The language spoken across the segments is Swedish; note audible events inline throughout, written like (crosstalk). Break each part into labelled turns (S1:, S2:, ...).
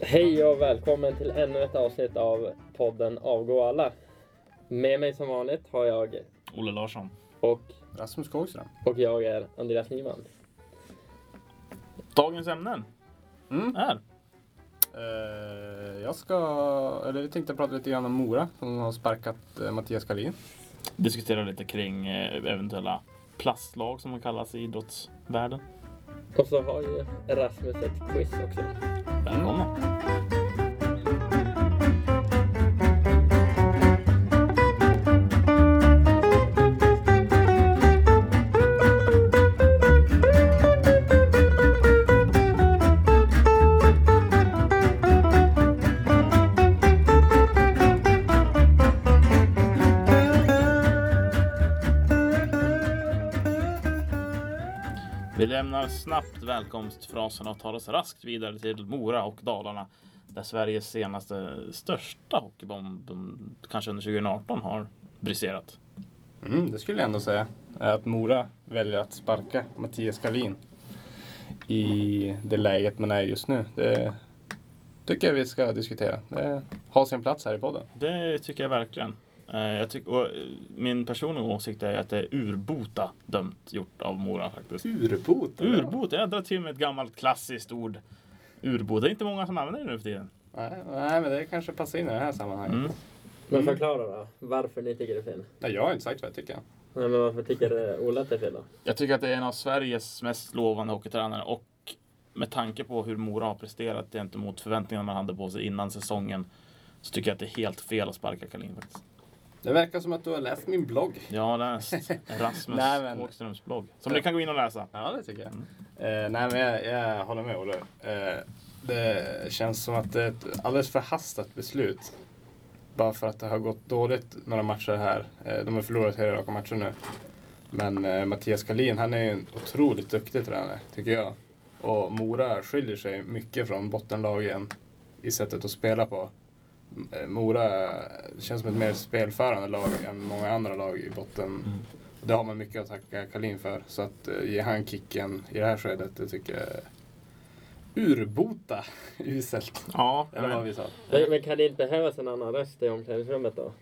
S1: Hej och välkommen till ännu ett avsnitt av podden Avgå alla. Med mig som vanligt har jag
S2: Olle Larsson.
S1: och,
S3: Rasmus Skogström.
S1: och jag är Andreas Nyman.
S2: Dagens ämnen
S3: Mm.
S2: är
S3: Eh, jag ska, eller vi tänkte prata lite grann om Mora som har sparkat eh, Mattias Kalin.
S2: diskutera lite kring eh, eventuella plastlag som man kallas i idrottsvärlden.
S1: Och så har ju Rasmus ett quiz också.
S2: Välkomna! Vi lämnar snabbt välkomstfraserna och tar oss raskt vidare till Mora och Dalarna. Där Sveriges senaste största hockeybomb, mm, kanske under 2018, har briserat.
S3: Mm, det skulle jag ändå säga. Eh, Att Mora väljer att sparka Mattias Kalin i det läget man är just nu. Det tycker jag vi ska diskutera. Det har sin plats här i podden.
S2: Det tycker jag verkligen. Eh, Jag tycker, och eh, min personliga åsikt är att det är urbota dömt gjort av Mora faktiskt.
S3: Urbota?
S2: Urbota, jag drar till med ett gammalt klassiskt ord. Urbota, det är inte många som använder det nu för tiden.
S3: Nej, nej, men det kanske passar in i det här sammanhanget.
S2: Mm.
S1: Men förklara då, varför ni tycker det är fel?
S3: Nej, jag har inte sagt vad jag tycker.
S1: Nej, men varför tycker eh, Ola att det är fel då?
S2: Jag tycker att det är en av Sveriges mest lovande hockeytränare och med tanke på hur Mora har presterat gentemot förväntningarna man hade på sig innan säsongen så tycker jag att det är helt fel att sparka Kalin faktiskt.
S3: Det verkar som att du har läst min blogg.
S2: Jag har (laughs) läst Rasmus
S3: Nej, men-
S2: Åkströms blogg som ni kan gå in och läsa.
S3: Ja, det tycker jag. Eh, nej, men jag, jag håller med Olle. Eh, det känns som att det är ett alldeles för hastat beslut. Bara för att det har gått dåligt några matcher här. Eh, de har förlorat hela raka matcher nu. Men eh, Mattias Kalin, han är ju en otroligt duktig tränare, tycker jag. Och Mora skiljer sig mycket från bottenlagen i sättet att spela på. M- eh, Mora känns som ett mer spelförande lag än många andra lag i botten. Det har man mycket att tacka Kalin för. Så att eh, ge han kicken i det här skedet, det tycker jag är urbota (laughs) uselt.
S2: Ja, jag
S3: Eller vad
S2: vet.
S3: vi sa.
S1: Men, men kan det inte behövas en annan röst i omklädningsrummet då?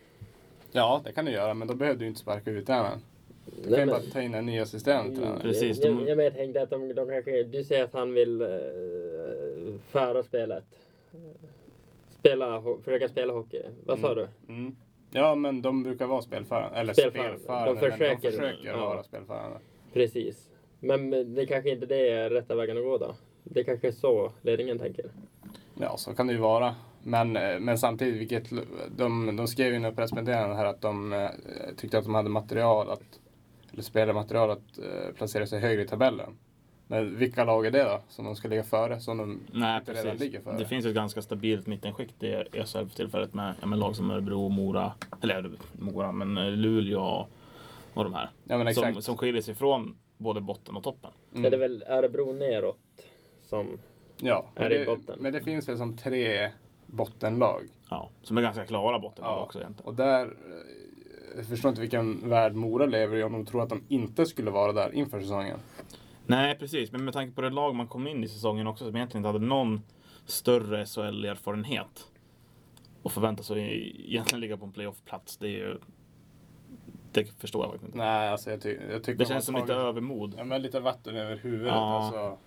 S3: Ja, det kan du göra, men då behöver du inte sparka ut tränaren. Du kan
S1: Nej,
S3: ju
S1: men, Mm.
S3: bara ta in en ny assistent. tränare.
S2: Mm, Precis,
S1: Jag,
S2: de-
S1: jag, jag, men jag tänkte att de, de kanske... Du säger att han vill eh, föra spelet. Spela, ho- försöka spela hockey. Vad sa du?
S3: Mm. Ja, men de brukar vara spelförande. Eller
S1: Spelförande.
S3: spelförande.
S1: De
S3: men
S1: försöker.
S3: de försöker
S1: Ja.
S3: vara spelförande.
S1: Precis. Men det kanske inte det är rätta vägen att gå då? Det kanske är så ledningen tänker.
S3: Ja, så kan det ju vara. Men, eh, men samtidigt, vilket, de, de skrev ju i pressmeddelandet här att de eh, tyckte att de hade material att, eller spelarmaterial att eh, placera sig högre i tabellen. Men vilka lag är det då som de ska ligga före? Som de
S2: Nej,
S3: inte redan
S2: precis.
S3: ligger före?
S2: Det finns ett ganska stabilt mittenskikt i SHL för tillfället med ja, men lag som Örebro, Mora, eller Mora, men eh, Luleå och de här.
S3: ja, men exakt.
S2: Som, som skiljer sig från både botten och toppen.
S3: Mm.
S1: Är det väl Örebro neråt som...
S3: ja,
S1: är
S3: men
S1: i
S3: det,
S1: botten.
S3: men det finns väl som tre bottenlag.
S2: Ja, som är ganska klara bottenlag också egentligen.
S3: Och där, eh, jag förstår inte vilken värld Mora lever i om de tror att de inte skulle vara där inför säsongen.
S2: Nej, precis. Men med tanke på det lag man kom in i säsongen också som egentligen inte hade någon större SHL-erfarenhet och förväntar sig egentligen ligga på en playoff-plats. Det är ju... Det förstår jag faktiskt inte.
S3: Nej, alltså jag, ty- jag tycker
S2: Det
S3: de har
S2: känns som lite
S3: tagit-
S2: övermod.
S3: Ja, men lite vatten över huvudet.
S2: Ja.
S3: Alltså.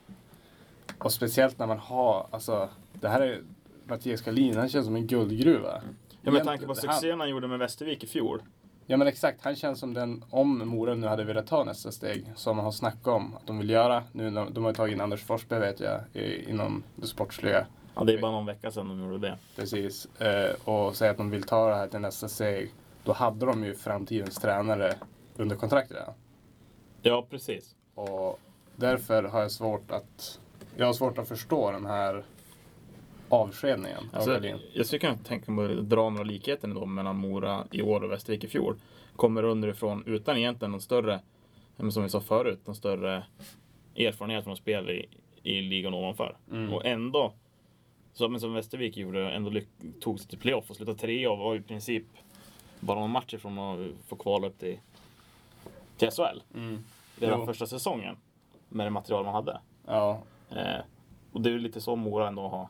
S3: Och speciellt när man har, alltså, det här är Mattias Kalin, han känns som en guldgruva.
S2: Mm. Ja, med tanke på
S3: Egentligen- han,
S2: succén han gjorde med Västervik i fjol.
S3: Ja men exakt, han känns som den, om Mora nu hade velat ta nästa steg, som man har snackat om att de vill göra. Nu, de, de har ju tagit in Anders Forsberg vet jag, i, inom det sportsliga.
S2: Ja, det är bara någon vecka sedan de gjorde det.
S3: Precis. Eh, och säga att de vill ta det här till nästa steg. Då hade de ju framtidens tränare under kontrakt redan.
S2: Ja, precis.
S3: Och därför har jag svårt att, jag har svårt att förstå den här avskedningen
S2: Alltså,
S3: av Berlin.
S2: jag skulle kunna tänka mig att dra några likheter då mellan Mora i år och Västervik i fjol. Kommer underifrån utan egentligen någon större, men som vi sa förut, någon större erfarenhet från spel i, i ligan ovanför. Och ändå, så, men som Västervik gjorde, ändå lyck- tog sig till playoff och slutade trea och var i princip bara någon match ifrån att få kvala upp till, till SHL.
S3: mm.
S2: Redan
S3: Jo.
S2: första säsongen med det material man hade.
S3: Ja,
S2: Eh, och det är ju lite så Mora ändå har,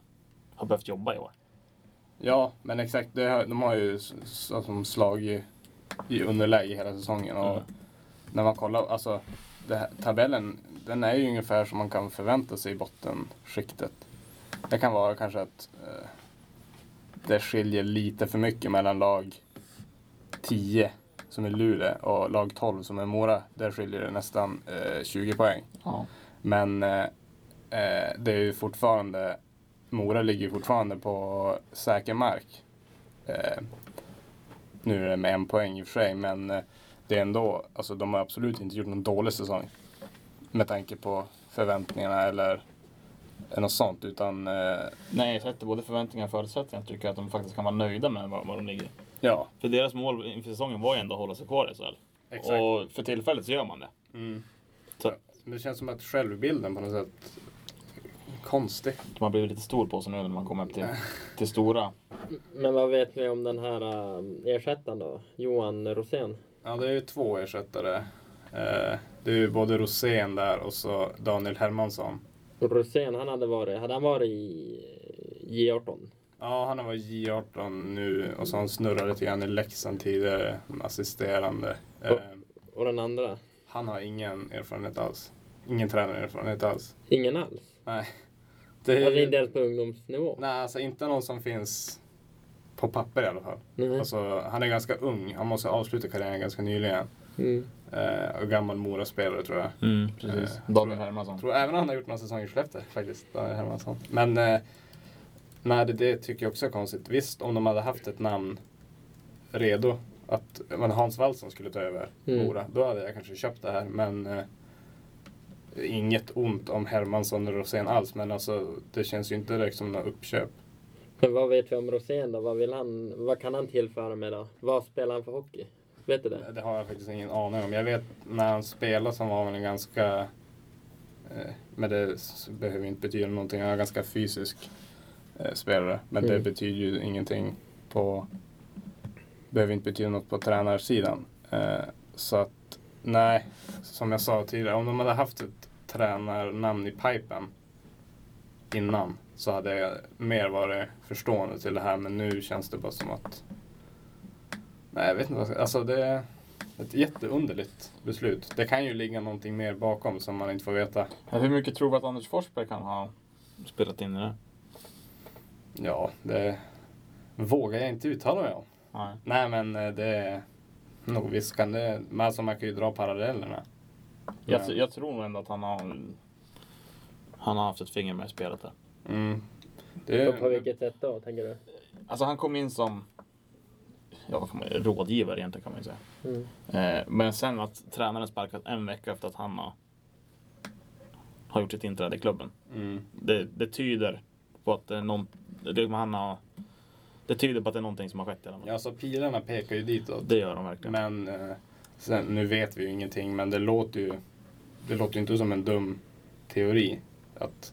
S2: har behövt jobba i år.
S3: Ja, men exakt. Det, har- de har ju s- s- alltså, slag i, i underläge hela säsongen. Och
S2: Mm.
S3: När man kollar, alltså det här, tabellen, den är ju ungefär som man kan förvänta sig i bottenskiktet. Det kan vara kanske att eh, det skiljer lite för mycket mellan lag 10 som är Luleå och lag 12 som är Mora. Där skiljer det nästan eh, 20 poäng.
S2: Ja.
S3: Men eh, eh, det är ju fortfarande, Mora ligger ju fortfarande på säker mark. Eh, nu är det med en poäng i och för sig, men eh, det är ändå, alltså de har absolut inte gjort någon dålig säsong. Med tanke på förväntningarna eller något sånt, utan eh,
S2: Nej, sätter både förväntningar och förutsättningar tycker jag att de faktiskt kan vara nöjda med var, var de ligger.
S3: ja.
S2: För deras mål inför säsongen var ju ändå att hålla sig kvar i SHL.
S3: Exakt.
S2: Och för tillfället så gör man det.
S3: Mm.
S2: Så
S3: Men det känns som att självbilden på något sätt konstig.
S2: man blir lite stor på sig nu när man kommer upp
S3: (laughs)
S2: till, till stora.
S1: Men vad vet ni om den här eh, ersättaren då? Johan Rosén?
S3: Ja, det är ju två ersättare. Eh, det är ju både Rosén där och så Daniel Hermansson.
S1: Rosén, han hade varit, hade han varit i J18?
S3: Ja, han har varit J18 nu och så har han snurrat lite grann i Leksand tidigare, som assisterande. Eh,
S1: Och- Och den andra?
S3: han har ingen erfarenhet alls. Ingen tränarerfarenhet alls.
S1: Ingen alls?
S3: Nej. Det är
S1: Alltså
S3: ju-
S1: inte ens på ungdomsnivå?
S3: Nej, alltså inte någon som finns på papper i alla fall.
S1: Nej.
S3: Alltså, han är ganska ung. Han måste ha avslutat karriären ganska nyligen.
S1: Mm.
S3: Eh, och gammal Mora-spelare tror jag.
S2: Mm, precis.
S3: Eh,
S2: Daniel
S3: tror-
S2: Hermansson.
S3: Jag tror även han har gjort några säsonger i Skellefteå faktiskt, Daniel Hermansson. Men eh, nej, det, det tycker jag också är konstigt. Visst, om de hade haft ett namn redo, att men Hans Wallson skulle ta över
S1: Mm.
S3: Mora, då hade jag kanske köpt det här. Men eh, inget ont om Hermansson och Rosén alls, men alltså, det känns ju inte direkt som några uppköp.
S1: Men vad vet vi om Rosén då? Vad, vill han, vad kan han tillföra med då? Vad spelar han för hockey? Vet du det?
S3: Det har jag faktiskt ingen aning om. Jag vet när han spelade så var han en ganska, eh, men det s- behöver inte betyda någonting, han var en ganska fysisk eh, spelare. Men det
S1: Mm.
S3: betyder ju ingenting på, behöver inte betyda något på tränarsidan. Eh, så att, nej, som jag sa tidigare, om de hade haft ett tränarnamn i pipen innan så hade jag mer varit förstående till det här, men nu känns det bara som att Nej, jag vet inte. vad jag ska- Alltså det är ett jätteunderligt beslut. Det kan ju ligga någonting mer bakom som man inte får veta.
S2: Men Hur mycket tror vi att Anders Forsberg kan ha spelat in i det?
S3: Ja, det vågar jag inte uttala mig om.
S2: Nej.
S3: Nej, men eh, det är nog visst kan det. Men alltså man kan ju dra parallellerna.
S2: Jag,
S3: Ja.
S2: tr- jag tror nog ändå att han har, han har haft ett finger med i spelet där.
S3: Mm. Det
S1: Och på
S3: är,
S1: vilket sätt då, tänker du?
S2: Alltså han kom in som ja, vad kan man, rådgivare egentligen kan man ju säga.
S1: Mm.
S2: Eh, men sen att tränaren sparkat en vecka efter att han har, har gjort sitt inträde i klubben.
S3: mm.
S2: Det, det tyder på att det är någon, det, han har, det tyder på att det är någonting som har skett i alla fall.
S3: Ja, alltså pilarna pekar ju ditåt.
S2: Det gör de verkligen.
S3: Men eh, sen, nu vet vi ju ingenting, men det låter ju det låter ju inte som en dum teori att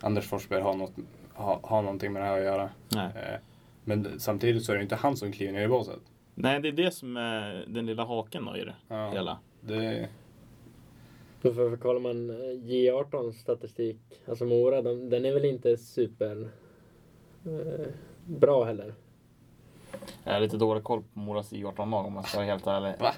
S3: Anders Forsberg har, något, har, har någonting med det här att göra.
S2: Nej.
S3: Eh, Men samtidigt så är det inte han som kliver ner i båset.
S2: Nej, det är det som är den lilla haken då i det
S3: Ja.
S2: hela.
S3: Det,
S1: För, för, för kollar man eh, J18 statistik, alltså Mora, de, den är väl inte super eh, bra heller.
S2: Jag har lite dålig koll på Moras I18-lag om man ska vara helt ärlig.
S3: Va?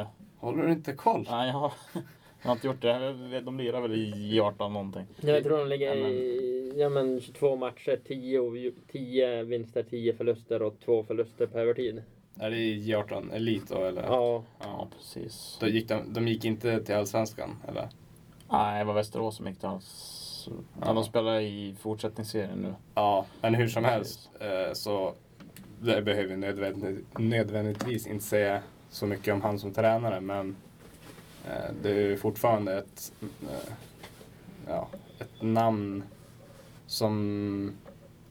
S2: Eh,
S3: håller du inte koll?
S2: nej, jag har, (laughs) jag har inte gjort det. Jag vet, De lirar väl i J18 någonting.
S1: Jag tror de ligger
S2: Ja, men-
S1: i ja, men 22 matcher, 10, och- 10 vinster, 10 förluster och 2 förluster per övertid.
S3: Är det i J18 Elit då eller?
S1: Ja,
S2: Ja,
S3: Ja.
S2: precis.
S3: Då gick de, de gick inte till Allsvenskan eller?
S2: Nej, det var Västerås som gick till hans... Ja. De spelar i fortsättningsserien nu.
S3: Ja, men hur som
S2: Precis.
S3: helst eh, så det behöver vi nödvändigt, nödvändigtvis inte säga så mycket om han som tränare men eh, det är ju fortfarande ett, eh, ja, ett namn som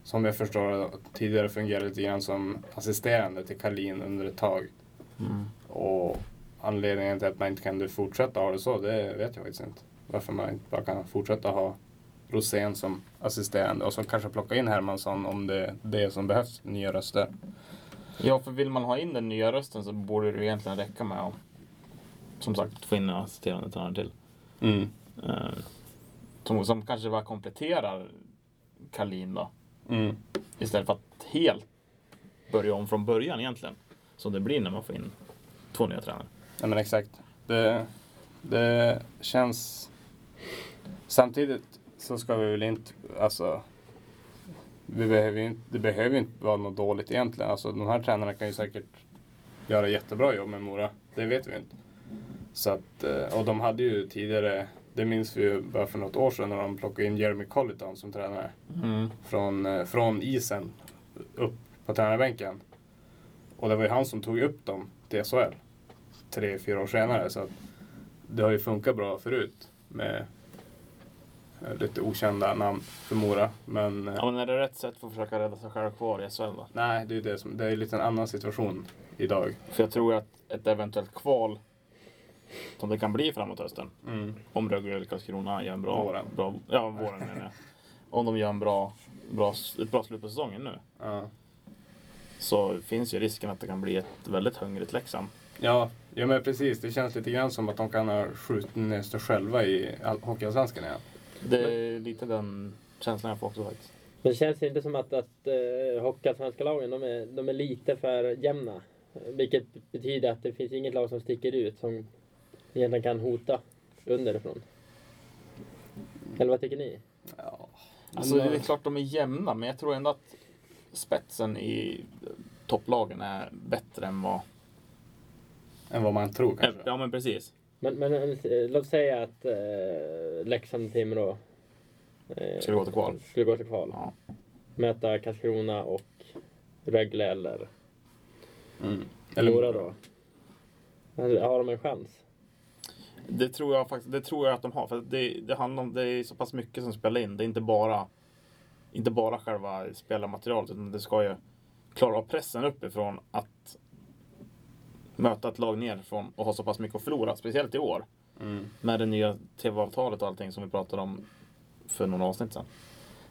S3: som jag förstår det, tidigare fungerade lite grann som assisterande till Kalin under ett tag. Och anledningen till att man inte kan fortsätta ha det så, det vet jag faktiskt inte. Varför man inte bara kan fortsätta ha Rosén som assisterande och så kanske plocka in Hermansson om det är det som behövs, nya röster.
S2: Ja, för vill man ha in den nya rösten så borde det ju egentligen räcka med att som sagt få in en assisterande tränare till.
S3: Mm.
S2: Eh, som, som kanske bara kompletterar Kalin då.
S3: Mm.
S2: Istället för att helt börja om från början egentligen. Som det blir när man får in två nya tränare.
S3: Nej men exakt. Det, det känns... Samtidigt så ska vi väl inte, alltså... Vi behöver ju inte, det behöver ju inte vara något dåligt egentligen. Alltså de här tränarna kan ju säkert göra jättebra jobb med Mora. Det vet vi inte. Så att, eh, och de hade ju tidigare, det minns vi ju bara för något år sedan när de plockade in Jeremy Colliton som tränare från, eh, från isen upp på tränarbänken. Och det var ju han som tog upp dem till SHL tre, fyra år senare. Så att det har ju funkat bra förut med eh, lite okända namn för Mora. Men eh,
S2: Ja, men är det rätt sätt för att försöka rädda sig själv kvar i SHL då?
S3: nej, det är ju det som, det är ju lite en annan situation idag.
S2: För jag tror att ett eventuellt kval som det kan bli framåt hösten. Om Rögle eller Karlskrona gör en bra...
S3: Våren.
S2: bra ja, våren menar jag. (laughs) Om de gör en bra, bra, ett bra slut på säsongen nu.
S3: Ja.
S2: Så finns ju risken att det kan bli ett väldigt hungrigt Leksand.
S3: Ja, ja, men precis. Det känns lite grann som att de kan ha skjutit ner sig själva i all- Hockeyallsvenskan igen.
S2: Det är lite den känslan jag får också faktiskt.
S1: Men det känns inte som att, att uh, hockeyallsvenska lagen, de är, de är lite för jämna. Vilket betyder att det finns inget lag som sticker ut som egentligen kan hota underifrån. Eller vad tycker ni?
S3: Ja.
S2: Alltså det är klart de är jämna, men jag tror ändå att spetsen i topplagen är bättre än vad...
S3: Än vad man tror kanske.
S2: Ja men precis.
S1: Men, men eh, låt säga att eh, Leksand, Timrå eh,
S2: Skulle gå till kval.
S1: skulle gå till kval.
S2: Ja.
S1: Möta Karlskrona och Rögle eller
S3: Mm.
S1: Mora då. Eller Har de en chans?
S2: Det tror jag faktiskt det tror jag att de har. För det, det handlar om, det är så pass mycket som spelar in. Det är inte bara, inte bara själva spelarmaterialet. Utan det ska ju klara av pressen uppifrån att möta ett lag nerifrån och ha så pass mycket att förlora. Speciellt i år.
S3: Mm.
S2: Med det nya tv-avtalet och allting som vi pratade om för några avsnitt sedan.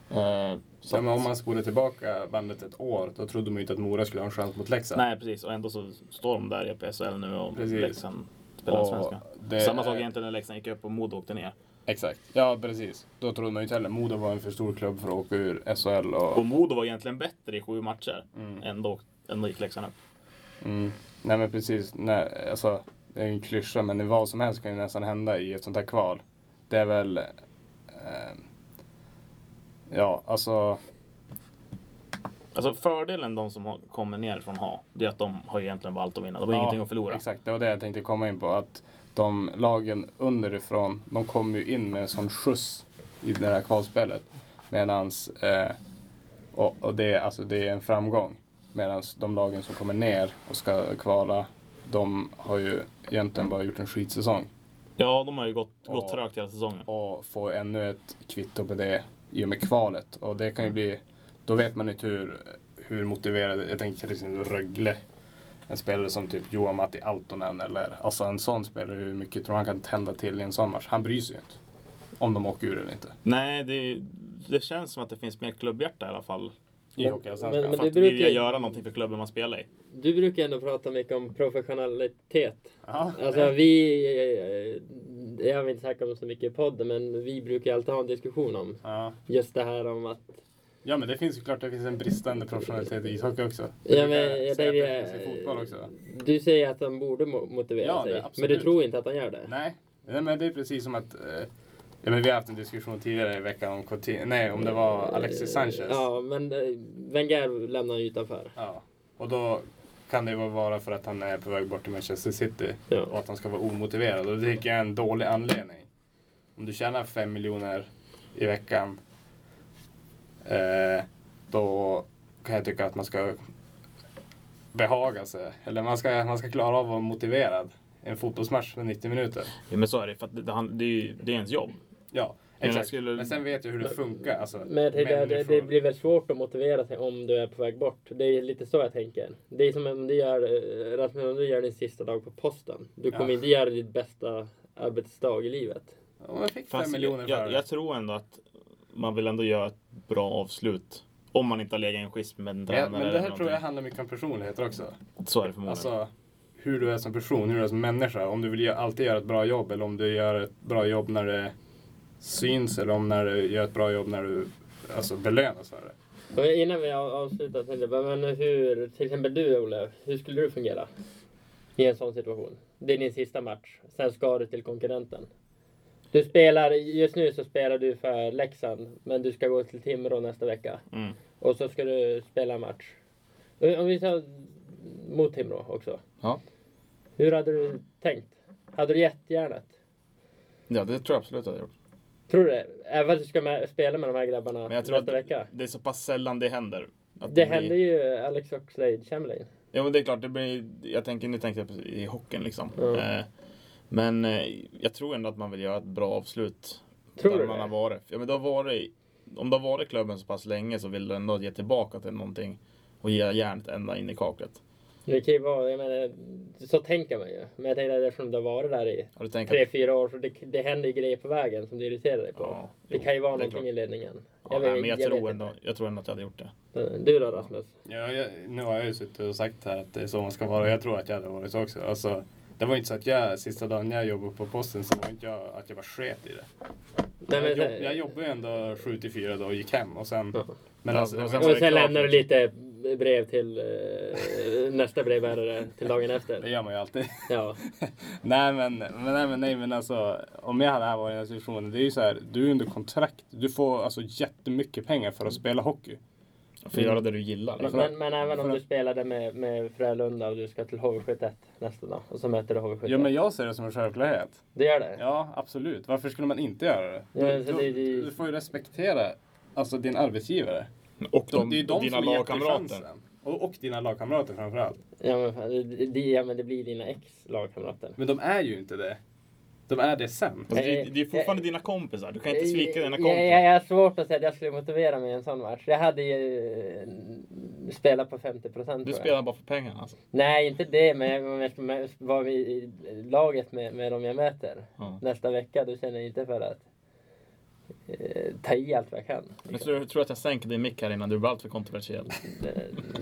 S2: Eh, så
S3: Ja, men
S2: att-
S3: om man spolar tillbaka bandet ett år, då trodde man ju inte att Mora skulle ha en chans mot Leksand.
S2: Nej precis, och ändå så står de där i PSL nu och
S3: Precis.
S2: Leksand spelar
S3: Och
S2: svenska.
S3: det
S2: Samma
S3: är-
S2: sak egentligen när Leksand gick upp och Modo åkte ner.
S3: Exakt. Ja, precis. Då trodde man ju inte heller. Modo var en för stor klubb för att åka ur SHL. Och...
S2: Och Modo var egentligen bättre i sju matcher.
S3: Mm.
S2: Ändå, ändå gick Leksand upp.
S3: Mm. Nej, men precis. Nej, alltså, det är ju en klyscha, men vad som helst kan ju nästan hända i ett sånt här kval. Det är väl... ehm, ja, alltså...
S2: Alltså fördelen de som har- kommer nerifrån har, det är att de har egentligen bara allt att vinna. De har
S3: ja,
S2: ingenting att förlora.
S3: Exakt, det var det jag tänkte komma in på. Att de lagen underifrån, de kommer ju in med en sån skjuts i det här kvalspelet. Medans, eh, och, och det, alltså det är en framgång. Medan de lagen som kommer ner och ska kvala, de har ju egentligen bara gjort en skitsäsong.
S2: Ja, de har ju gått, gått
S3: Ja.
S2: trögt hela säsongen.
S3: Och får ännu ett kvitto på det i och med kvalet. Och det kan ju bli, då vet man inte hur, hur motiverade, jag tänker till exempel Rögle. En spelare som typ Johan Matti Altonen eller alltså en sån spelare, hur mycket tror han kan tända till i en sån match? Han bryr sig ju inte. Om de åker ur eller inte.
S2: Nej, det, det känns som att det finns mer klubbhjärta i alla fall.
S3: I
S1: Men-
S3: Hockeyallsvenskan.
S1: men
S2: För
S1: det
S2: att vilja
S1: brukar-
S2: göra någonting för klubben man spelar i.
S1: Du brukar ändå prata mycket om professionalitet.
S3: Ja,
S1: Alltså vi, eh, jag har inte snackat om så mycket i podden, men vi brukar alltid ha en diskussion om
S3: ja.
S1: just det här om att...
S3: ja, men det finns ju klart, det finns en bristande professionalitet i ishockey också.
S1: Ja,
S3: brukar
S1: men jag
S3: säga att
S1: tänker,
S3: det finns i fotboll också.
S1: Du säger att han borde mo- motivera
S3: Ja, det-
S1: sig, men du
S3: absolut.
S1: tror inte att han gör det?
S3: Nej, Nej, men det är precis som att... Eh, ja, men vi har haft en diskussion tidigare i veckan om Coutinho, nej, om det var Alexis Sanchez.
S1: Eh, Ja, men eh, Wenger lämnar han utanför.
S3: Ja. Och då kan det ju vara för att han är på väg bort till Manchester City
S1: Ja.
S3: och att han ska vara omotiverad. Och det tycker jag är en dålig anledning. Om du tjänar 5 miljoner i veckan eh, då kan jag tycka att man ska behaga sig. Eller man ska, man ska klara av att vara motiverad i en fotbollsmatch med 90 minuter.
S2: Ja, men så är det, för att det, det, han- det, är, ju- det är ens jobb.
S3: Ja,
S2: Men jag
S3: exakt.
S2: skulle-
S3: Men sen vet jag hur det funkar. Alltså,
S1: Men jag tänkte, att det,
S3: människor.
S1: det blir väl svårt att motivera sig om du är på väg bort. Det är lite så jag tänker. Det är som om du gör, eh, Rasmus, om du gör din sista dag på posten. Du kommer
S3: Ja.
S1: inte göra ditt bästa arbetsdag i livet.
S3: Ja, jag fick 5
S2: Fast
S3: miljoner
S2: jag,
S3: för
S2: jag,
S3: det.
S2: jag tror ändå att man vill ändå göra ett bra avslut. Om man inte har legat i en schism med en
S3: Ja,
S2: tränare
S3: men det
S2: eller
S3: här tror jag
S2: någonting.
S3: handlar mycket om personligheter också.
S2: Så är det förmodligen.
S3: Alltså hur du är som person, hur du är som människa. Om du vill gö- alltid göra ett bra jobb eller om du gör ett bra jobb när det syns eller om när du gör ett bra jobb när du alltså, belönas för det.
S1: Och Innan vi av- avslutar tänkte jag bara, men hur, till exempel du Olle, hur skulle du fungera i en sån situation? Det är din sista match, sen ska du till konkurrenten. Du spelar, just nu så spelar du för Leksand, men du ska gå till Timrå nästa vecka.
S2: Mm.
S1: Och så ska du spela en match. Om om vi tar mot Timrå också.
S2: Ja.
S1: Hur hade du tänkt? Hade du gett järnet?
S2: ja, det tror jag absolut jag hade gjort.
S1: Tror du det? Även att du ska med, spela med de här grabbarna
S2: Men jag tror
S1: nästa
S2: att
S1: vecka?
S2: det, det är så pass sällan det händer. Att
S1: Det
S2: blir-
S1: hände ju Alex Oxlade-Chamberlain.
S2: Ja men det är klart, det blir, jag tänker, nu tänkte jag på, i hockeyn liksom.
S1: Mm.
S2: Eh, men eh, jag tror ändå att man vill göra ett bra avslut.
S1: Tror
S2: där
S1: du
S2: man
S1: det?
S2: har varit. Ja, men det har varit. Om det har varit i klubben så pass länge så vill du ändå ge tillbaka till någonting och ge järnet ända in i kaklet.
S1: Det kan ju vara, jag menar, så tänker man ju. Men jag tänkte att eftersom du har varit där i
S2: Har du tänkt
S1: tre, fyra år så det, det händer ju grejer på vägen som du irriterar dig på.
S2: Ja,
S1: det kan ju vara
S2: det är
S1: någonting
S2: klart.
S1: i ledningen.
S2: Ja, nej, men jag,
S1: vet
S2: tror
S1: inte.
S2: ändå, jag tror ändå att jag hade gjort det.
S1: Du då Rasmus?
S3: Ja, jag, nu har jag ju suttit och sagt här att det är så man ska vara. Jag tror att jag hade varit så också. Alltså, det var inte så att jag, sista dagen jag jobbade på posten så var inte jag att jag var sket i det.
S1: Nej, men- eh,
S3: jag, jobb, jag jobbade ju ändå 7 till 4 då och gick hem och sen...
S1: Ja.
S3: Men alltså, det
S2: Och
S3: var
S2: sen
S3: inte-
S1: Och
S2: det är
S1: sen
S2: klart.
S1: lämnar du lite brev till eh, nästa brevbärare till dagen
S3: det
S1: efter.
S3: gör man ju alltid. (laughs)
S1: Ja.
S3: nej, men, men, nej, men, nej, men alltså om jag hade här varit i den här situationen. Det är ju så här, du är under kontrakt. Du får alltså jättemycket pengar för att spela hockey.
S2: För att göra det du gillar. Liksom.
S1: Men, men även om
S3: för-
S1: du spelade med, med Frölunda och du ska till HV71 nästa dag och så möter du HV71.
S3: Ja, men jag ser det som en självklarhet.
S1: Det gör det?
S3: Ja, absolut. Varför skulle man inte göra det?
S1: Ja,
S3: Du,
S1: så det- det-
S3: du, du får ju respektera alltså, din arbetsgivare.
S2: Och
S3: De, det är ju de
S2: dina
S3: som gett dig
S2: lagkamrater.
S3: chansen. Och, och dina lagkamrater framförallt.
S1: Ja, men, fan, det, det, ja, men det blir dina ex-lagkamrater.
S3: Men de är ju inte det. De är det sen.
S2: Alltså, det,
S1: Eh,
S2: det är fortfarande dina kompisar. Du kan inte svika dina
S1: Jag, jag,
S2: kompisar.
S1: jag har svårt att säga att jag skulle motivera mig i en sån match. Jag hade ju eh, spelat på 50 procent.
S2: Du spelar bara för pengarna. Alltså.
S1: Nej, inte det, men jag- om jag ska med- vara i i laget med, med dem jag möter
S2: Ja.
S1: nästa vecka, då känner jag inte för att eh, ta i allt vad jag kan.
S2: Men tror, tror du att jag sänker din mick här innan du blir alltför kontroversiell?
S1: Eh,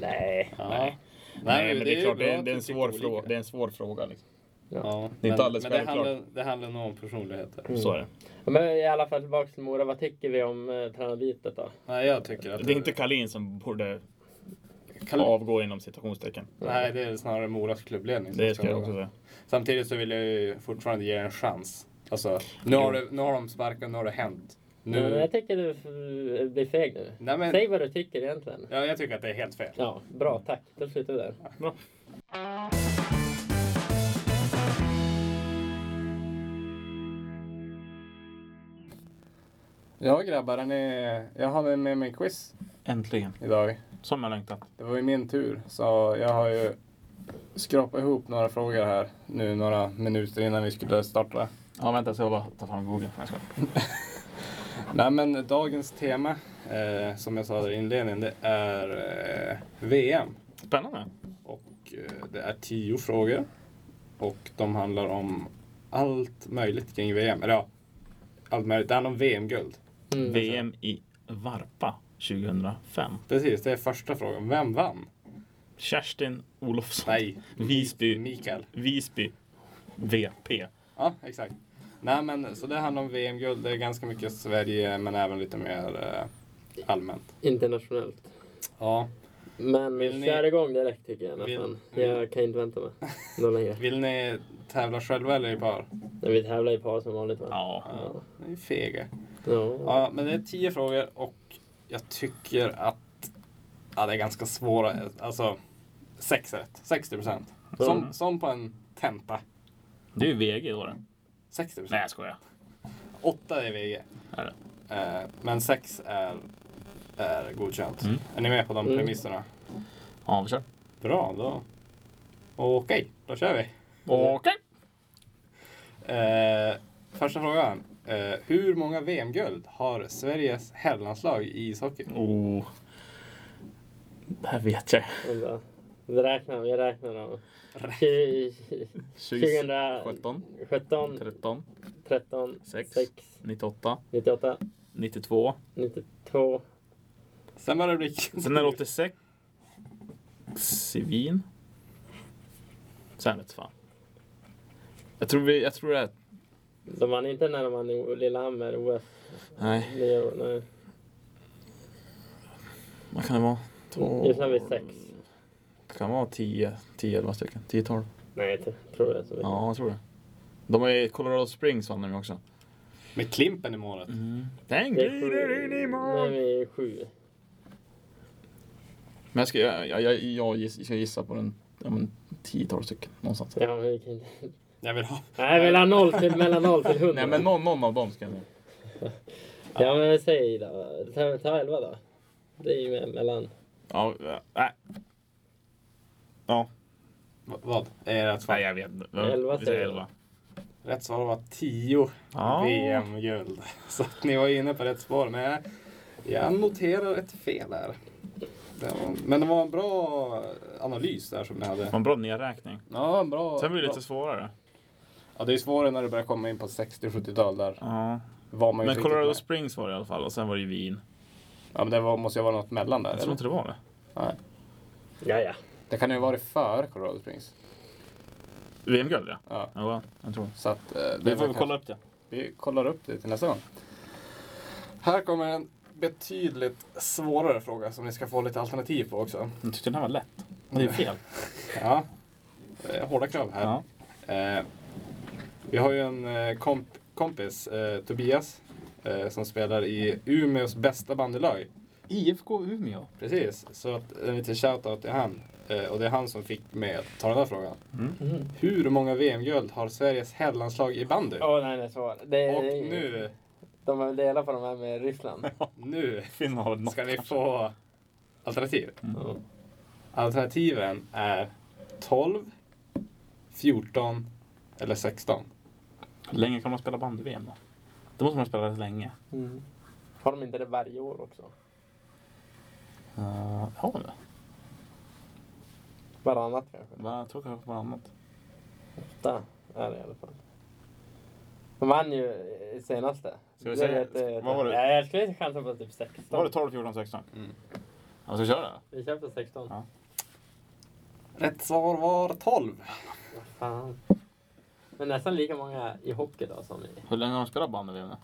S1: Nej.
S3: Ja.
S2: Nej. Nej, men det, är, klart, det är, det är en svår fråga. Det är en svår fråga liksom.
S3: Ja,
S2: Det är inte alldeles
S3: men det
S2: självklart.
S3: handlar, det handlar nog om personligheter.
S2: Så är det.
S1: Men i alla fall tillbaka till Mora. Vad tycker vi om eh, tränarbytet då?
S3: Nej, jag tycker att...
S2: Det är inte Kalin som borde
S3: Kal-
S2: avgå inom citationstecken.
S3: Nej, det är snarare Moras klubbledning. som
S2: Det ska jag
S3: göra
S2: också säga.
S3: Samtidigt så vill jag ju fortfarande ge er en chans. Alltså, nu har, det, nu har de sparkat, nu har det hänt. Nu...
S1: Men jag tycker du f- blir feg nu.
S3: Nej, men-
S1: Säg vad du tycker egentligen.
S3: Ja, jag tycker att det är helt fel.
S1: Ja, bra. Tack. Då slutar vi där.
S2: Bra.
S3: Ja grabbar, är ni... jag hade med mig quiz
S2: Äntligen.
S3: idag.
S2: Som jag längtat.
S3: Det var ju min tur, så jag har ju skrapat ihop några frågor här nu några minuter innan vi skulle starta.
S2: Ja, vänta, så jag bara ta fram Google. Jag ska.
S3: Nej men dagens tema, eh, som jag sa där i inledningen, det är eh, VM.
S2: Spännande.
S3: Och eh, det är tio frågor. Och de handlar om allt möjligt kring VM. Eller ja, allt möjligt. Det handlar om VM-guld.
S1: Mm.
S2: VM i Varpa 2005.
S3: Precis, det är första frågan. Vem vann?
S2: Kerstin Olofsson.
S3: Nej,
S2: Visby.
S3: Mikael.
S2: Visby. VP.
S3: Ja, exakt. Nej men så det handlar om VM-guld. Det är ganska mycket Sverige men även lite mer eh, allmänt.
S1: Internationellt.
S3: Ja.
S1: Men
S3: Vill ni-
S1: kör igång direkt tycker jag
S3: Vill-
S1: nästan.
S2: Mm.
S1: Jag kan inte vänta mig någon längre.
S3: Vill ni tävla själva eller i par?
S1: Men Vi tävlar i par som vanligt va?
S2: Ja.
S1: Ja.
S3: Ni är fega.
S1: ja.
S3: Ja, men det är tio frågor och jag tycker att ja, det är ganska svåra. Alltså, sex rätt. 60 procent. Som,
S1: Mm.
S3: som på en tenta.
S2: Det är ju VG då. det.
S3: 60
S2: Nej,
S3: procent.
S2: jag skojar.
S3: Åtta är VG.
S2: Är det?
S3: Eh, men sex är, är godkänt.
S2: Mm.
S3: Är ni med på de
S1: Mm.
S3: premisserna?
S2: Ja, vi kör.
S3: Bra, då. Okej, då kör vi.
S2: Okej.
S3: Eh, första frågan. Eh, hur många VM-guld har Sveriges herrlandslag i ishockey?
S2: Oh. Det här vet jag.
S1: men bra. Vi räknar, vi räknar dem.
S3: Rätt.
S1: Tju- 2017,
S2: 13,
S1: 13,
S2: Sex.
S1: 6,
S2: 98,
S1: 98,
S2: 92.
S1: 92.
S3: Sen var det Rick.
S2: Sen är det 86 Svin. Sen vet fan. Jag tror, vi, jag tror det är...
S1: De vann inte när de vann i Lillehammer OS.
S2: Nej.
S1: Det gör- Nej.
S2: Vad kan det vara? Två...
S1: Just nu har vi sex.
S2: Det kan vara 10, 10 11 stycken. 10, 12.
S1: Nej, jag tror det är så mycket.
S2: Ja, jag tror det. De har ju Colorado Springs vann de ju också.
S3: (laughs) Med Klimpen i målet.
S2: Mm. Den
S1: Det är sju.
S2: glider in i
S1: Nej,
S2: mål!
S1: vi är sju.
S2: Men jag ska, jag, jag, jag, jag giss- ska gissa på den. Ja, men 10-12 stycken någonstans.
S1: Ja, men vi kan inte...
S3: Jag vill ha.
S1: Nej, mellan noll till, mellan noll till hundra.
S2: Nej men någon, någon av dem ska jag säga.
S1: Ja, men vi säger då. Ta, ta elva då. Det är ju me- mellan...
S2: Ja, nej. Ja,
S3: Va- Vad? Är rätt svar?
S2: nej jag vet inte.
S1: Elva säger
S2: Vi säger
S1: jag.
S2: elva.
S3: Rätt svar var 10
S2: Ja.
S3: VM-guld. (laughs) Så att ni var inne på rätt spår. Men jag, jag noterar ett fel där. Det var, men det var en bra analys där som ni
S2: Det
S3: hade.
S2: var en bra nedräkning.
S3: Ja, en bra.
S2: Sen blir det
S3: bra.
S2: lite svårare.
S3: Ja, det är svårare när du börjar komma in på 60-70-tal. Där
S2: Ja.
S3: var man ju
S2: Men
S3: inte riktigt
S2: Colorado
S3: med.
S2: Springs var det i alla fall och sen var det ju Wien.
S3: Ja, men det var, måste ju vara något mellan där.
S2: Jag tror
S3: Eller?
S2: inte det var det.
S3: Nej.
S1: Ja, ja.
S3: Det kan ju vara för Colorado Springs.
S2: VM-guld ja.
S3: Ja.
S2: ja. Jag tror.
S3: Så att, eh, det
S2: Vi
S3: var
S2: får
S3: kanske-
S2: kolla upp det.
S3: Vi kollar upp det till nästa gång. Här kommer en betydligt svårare fråga som ni ska få lite alternativ på också.
S2: Jag tyckte den här var lätt. Men det är fel.
S3: Ja, det är hårda krav här.
S2: Ja.
S3: Eh, vi har ju en eh, komp kompis, eh, Tobias, eh, som spelar i Umeås bästa bandylag.
S2: IFK Umeå.
S3: Precis, så att, en liten shoutout till han. Eh, och det är han som fick mig att ta den här frågan.
S1: Mm.
S3: Hur många VM-guld har Sveriges herrlandslag i bandy?
S1: Åh, nej, nej, så var det. det
S3: Och nu,
S1: De har väl delat på de här med
S2: (laughs)
S1: Ryssland.
S3: nu
S2: Finland har väl något
S3: ska ni
S2: kanske.
S3: få alternativ.
S1: Ja.
S3: Alternativen är 12, 14 eller 16.
S2: Hur länge kan man spela bandy-VM då? Då måste man spela rätt länge.
S1: Mm. Har de inte det varje år också?
S2: Uh, har man det?
S1: Varannat kanske?
S2: Va, Jag tror kanske på något annat.
S1: Åtta är det i alla fall. De vann ju i senaste.
S2: Ska vi säga-
S1: vet, eh,
S2: vad var det?
S1: Nej, jag skulle chansa på typ 16.
S2: Var det 12, 14, 16?
S3: Mm.
S2: Ja, ska vi köra?
S1: Vi kör på 16.
S2: Ja.
S3: Rätt svar var 12.
S1: Fan. Men nästan lika många i hockey då som i...
S2: Hur länge har de spelat bandy-VM då?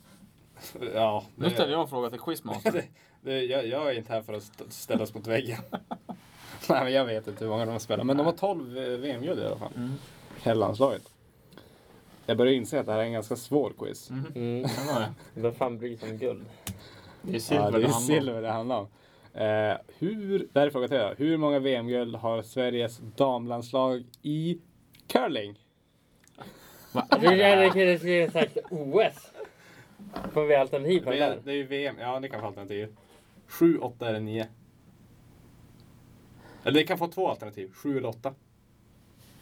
S3: Ja,
S2: Nu ställer
S3: det,
S2: jag en fråga till Quizmaster. (laughs)
S3: det, jag, jag är inte här för att st- ställa oss mot väggen. (laughs) Nej, men jag vet inte hur många de har spelat. Men de har 12 eh, VM-guld i alla fall.
S2: Mm.
S3: Herrlandslaget. Jag börjar inse att det här är en ganska svår quiz.
S1: Mm.
S2: Kan det vara det?
S1: Vem fan bryr sig om guld?
S2: Det är
S3: Ja,
S2: silver
S3: det är
S2: det handlar om.
S3: silver det handlar om. Eh, hur, där är frågan till er. Hur många VM-guld har Sveriges damlandslag i curling?
S2: Va?
S1: Vi hade kunnat sagt OS. Får vi alternativ på det
S3: Det är,
S1: där?
S3: det är ju VM. Ja, ni kan få alternativ. 7, 8 eller 9. Eller ni kan få två alternativ. 7 eller 8.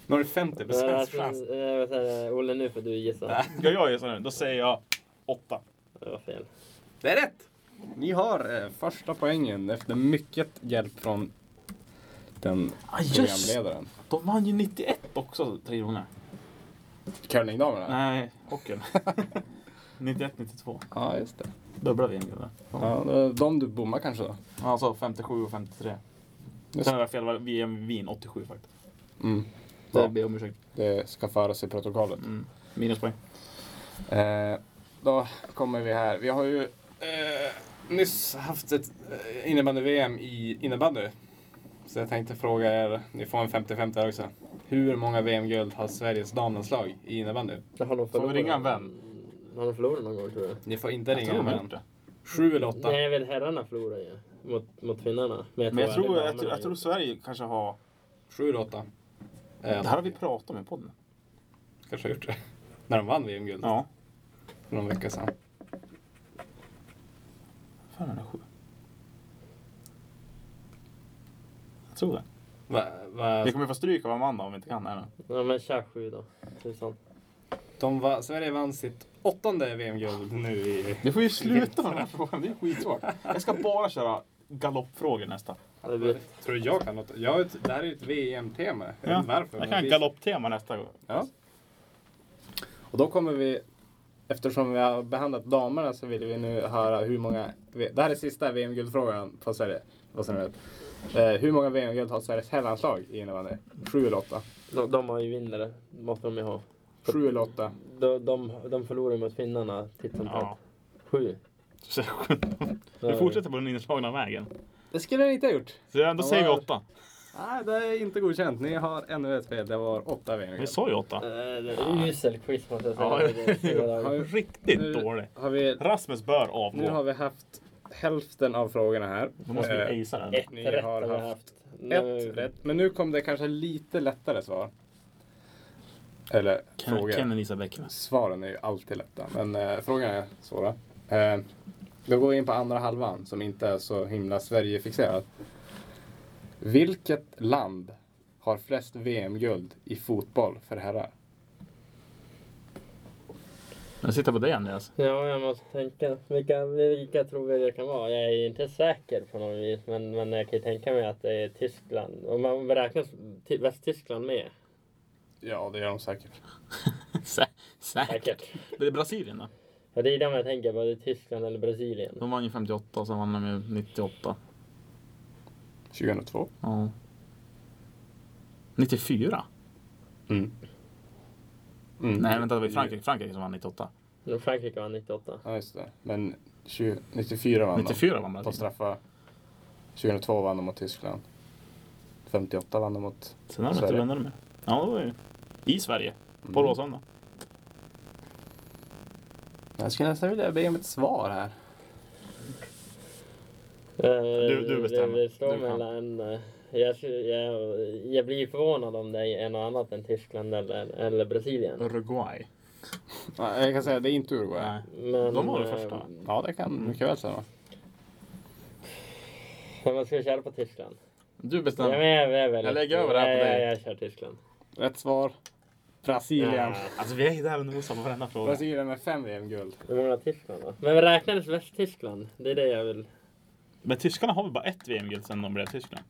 S3: Nu har ni 50 procents chans.
S1: Äh, Olle, nu får du gissa.
S2: Ska jag gissa nu? Då säger jag åtta.
S1: Det var fel.
S3: Det är rätt! Ni har eh, första poängen efter mycket hjälp från den
S2: Ah, just.
S3: programledaren.
S2: De vann ju 91 också, Tre Kronor.
S3: Curlingdamerna?
S2: Nej, (laughs) hockeyn. 91, 92.
S3: Ja, just det.
S2: Dubbla VM-guld.
S3: Ja, det är de du bommar kanske då?
S2: Alltså 57 och 53.
S3: Just.
S2: Sen var jag fel, det var VM Wien 87 faktiskt.
S3: Mm.
S2: Så
S3: Ja.
S2: jag ber om ursäkt.
S3: Det ska föras i protokollet.
S2: Mm. Minuspoäng.
S3: Eh, då kommer vi här. Vi har ju eh, nyss haft ett eh, innebandy-VM i innebandy. Så jag tänkte fråga er, ni får en 50-50 här också. Hur många VM-guld har Sveriges damlandslag i innebandy?
S1: Det Har de
S2: Får vi
S1: förlorat?
S2: ringa en vän?
S1: Har de förlorat någon gång tror du?
S3: Ni får inte ringa
S2: de har
S3: med
S2: gjort det.
S3: Sju eller åtta?
S1: Nej, jag vet herrarna förlorade ju mot, mot finnarna.
S2: Men jag
S1: aldrig
S2: tror, jag, tror,
S1: damerna
S2: jag tror Sverige kanske har...
S3: Sju eller åtta?
S2: Det
S3: Eh,
S2: här har vi pratat om i podden.
S3: kanske har gjort det. (laughs) När de vann VM-guld
S2: Ja.
S3: för någon vecka sedan.
S2: Fan, är sju. Jag tror det.
S3: Va, va,
S2: Vi kommer få stryk av Amanda om vi inte kan det här nu.
S1: gjorde. Ja, men kör sju då. Typ Tusan.
S3: de va, Sverige vann sitt åttonde VM-guld nu i...
S2: Du får ju sluta med den här frågan, det är skittråkigt. Jag ska bara köra galoppfrågor nästa.
S1: Det blir...
S3: Tror du jag kan något? Jag, har ett- det här är ju ett VM-tema. Jag vet inte varför.
S2: jag
S3: men
S2: kan
S3: vi-
S2: galopptema nästa gång.
S3: Ja. Och då kommer vi, eftersom vi har behandlat damerna så vill vi nu höra hur många, det här är sista VM-guldfrågan på Sverige, vad som ni vet. Eh, hur många VM-guld har Sveriges herrlandslag i innebandy? Sju eller åtta?
S1: De, de har ju vinnare, måste de ju ha.
S3: Sju eller åtta?
S1: De, de, de förlorade mot finnarna titt som tätt.
S2: Ja.
S1: Sju.
S2: Så- Du fortsätter på den inslagna vägen.
S3: Det skulle jag inte ha gjort.
S2: Så ändå säger vi åtta.
S3: Nej, det är inte godkänt. Ni har ännu ett fel. Det var åtta
S2: Vi
S3: meningar.
S2: sa ju åtta.
S1: Eh, Usel quiz måste jag
S2: Ja,
S1: säga.
S2: riktigt
S3: Nu-
S2: dåligt.
S3: Har vi,
S2: Rasmus bör
S3: nu har
S2: avgå.
S3: vi haft hälften av frågorna här.
S2: Då måste
S3: Eh,
S2: vi acea den.
S1: Ett
S3: Ni
S1: rätt
S3: har
S1: har vi
S3: haft
S1: haft.
S3: Ett rätt. Men nu kom det kanske lite lättare svar. Eller
S2: Ken,
S3: frågor.
S2: Ken Elisa Bäckman.
S3: Svaren är ju alltid lätta, men eh, frågan är svåra. Eh, då går vi in på andra halvan som inte är så himla Sverigefixerad. Vilket land har flest VM-guld i fotboll för herrar?
S2: Jag sitter på dig Andreas. (laughs)
S1: Ja, jag måste tänka. Vilka, vilka tror vi det kan vara? Jag är inte säker på något vis, men, men jag kan ju tänka mig att det är Tyskland. Om man räknar Ty- Västtyskland med,
S3: Ja, det gör de säkert.
S2: Sä- Säkert.
S1: säkert.
S2: Det är Brasilien då.
S1: Ja, det är de jag tänker på, det är Tyskland eller Brasilien.
S2: De vann ju 58 och sen vann de ju 98.
S3: 2002?
S2: Ja. 94?
S3: Mm. Mm.
S2: Nej vänta, det var ju Frankrike, Frankrike som vann 98.
S1: Men Frankrike vann 98.
S3: Ja, just det. Men 20, 94 vann
S2: 94 vann
S3: de på
S2: Brasilien.
S3: straffar. 2002 vann de mot Tyskland. 58 vann de mot...
S2: Sen har de inte
S3: Sverige.
S2: vunnit mer. Ja, det var ju i Sverige. På Råsunda.
S3: Jag skulle nästan vilja be om ett svar här.
S2: du bestämmer.
S1: Eh, Det, det står
S2: Du kan.
S1: mellan... eh, Jag, jag, jag blir förvånad om det är något annat än Tyskland eller, eller Brasilien.
S2: Uruguay.
S3: Nej, Jag kan säga att det är inte Uruguay.
S2: Nej.
S1: Men,
S2: De var det
S1: eh,
S2: första.
S3: Ja, det kan mycket väl stämma.
S1: Men man ska köra på Tyskland. Ja,
S2: Du
S1: men
S2: bestämmer.
S1: jag, jag, väljer-
S2: Jag lägger över det här på
S1: Nej,
S2: dig.
S1: Jag, jag kör Tyskland.
S3: Rätt svar. Brasilien.
S1: Ja.
S2: Alltså vi är ju där och nosar på varenda fråga.
S3: Brasilien med fem VM-guld.
S1: Hur många Tyskland då? Men räknades Västtyskland? Det är det jag vill...
S2: Men tyskarna har väl bara ett VM-guld sedan de blev Tyskland?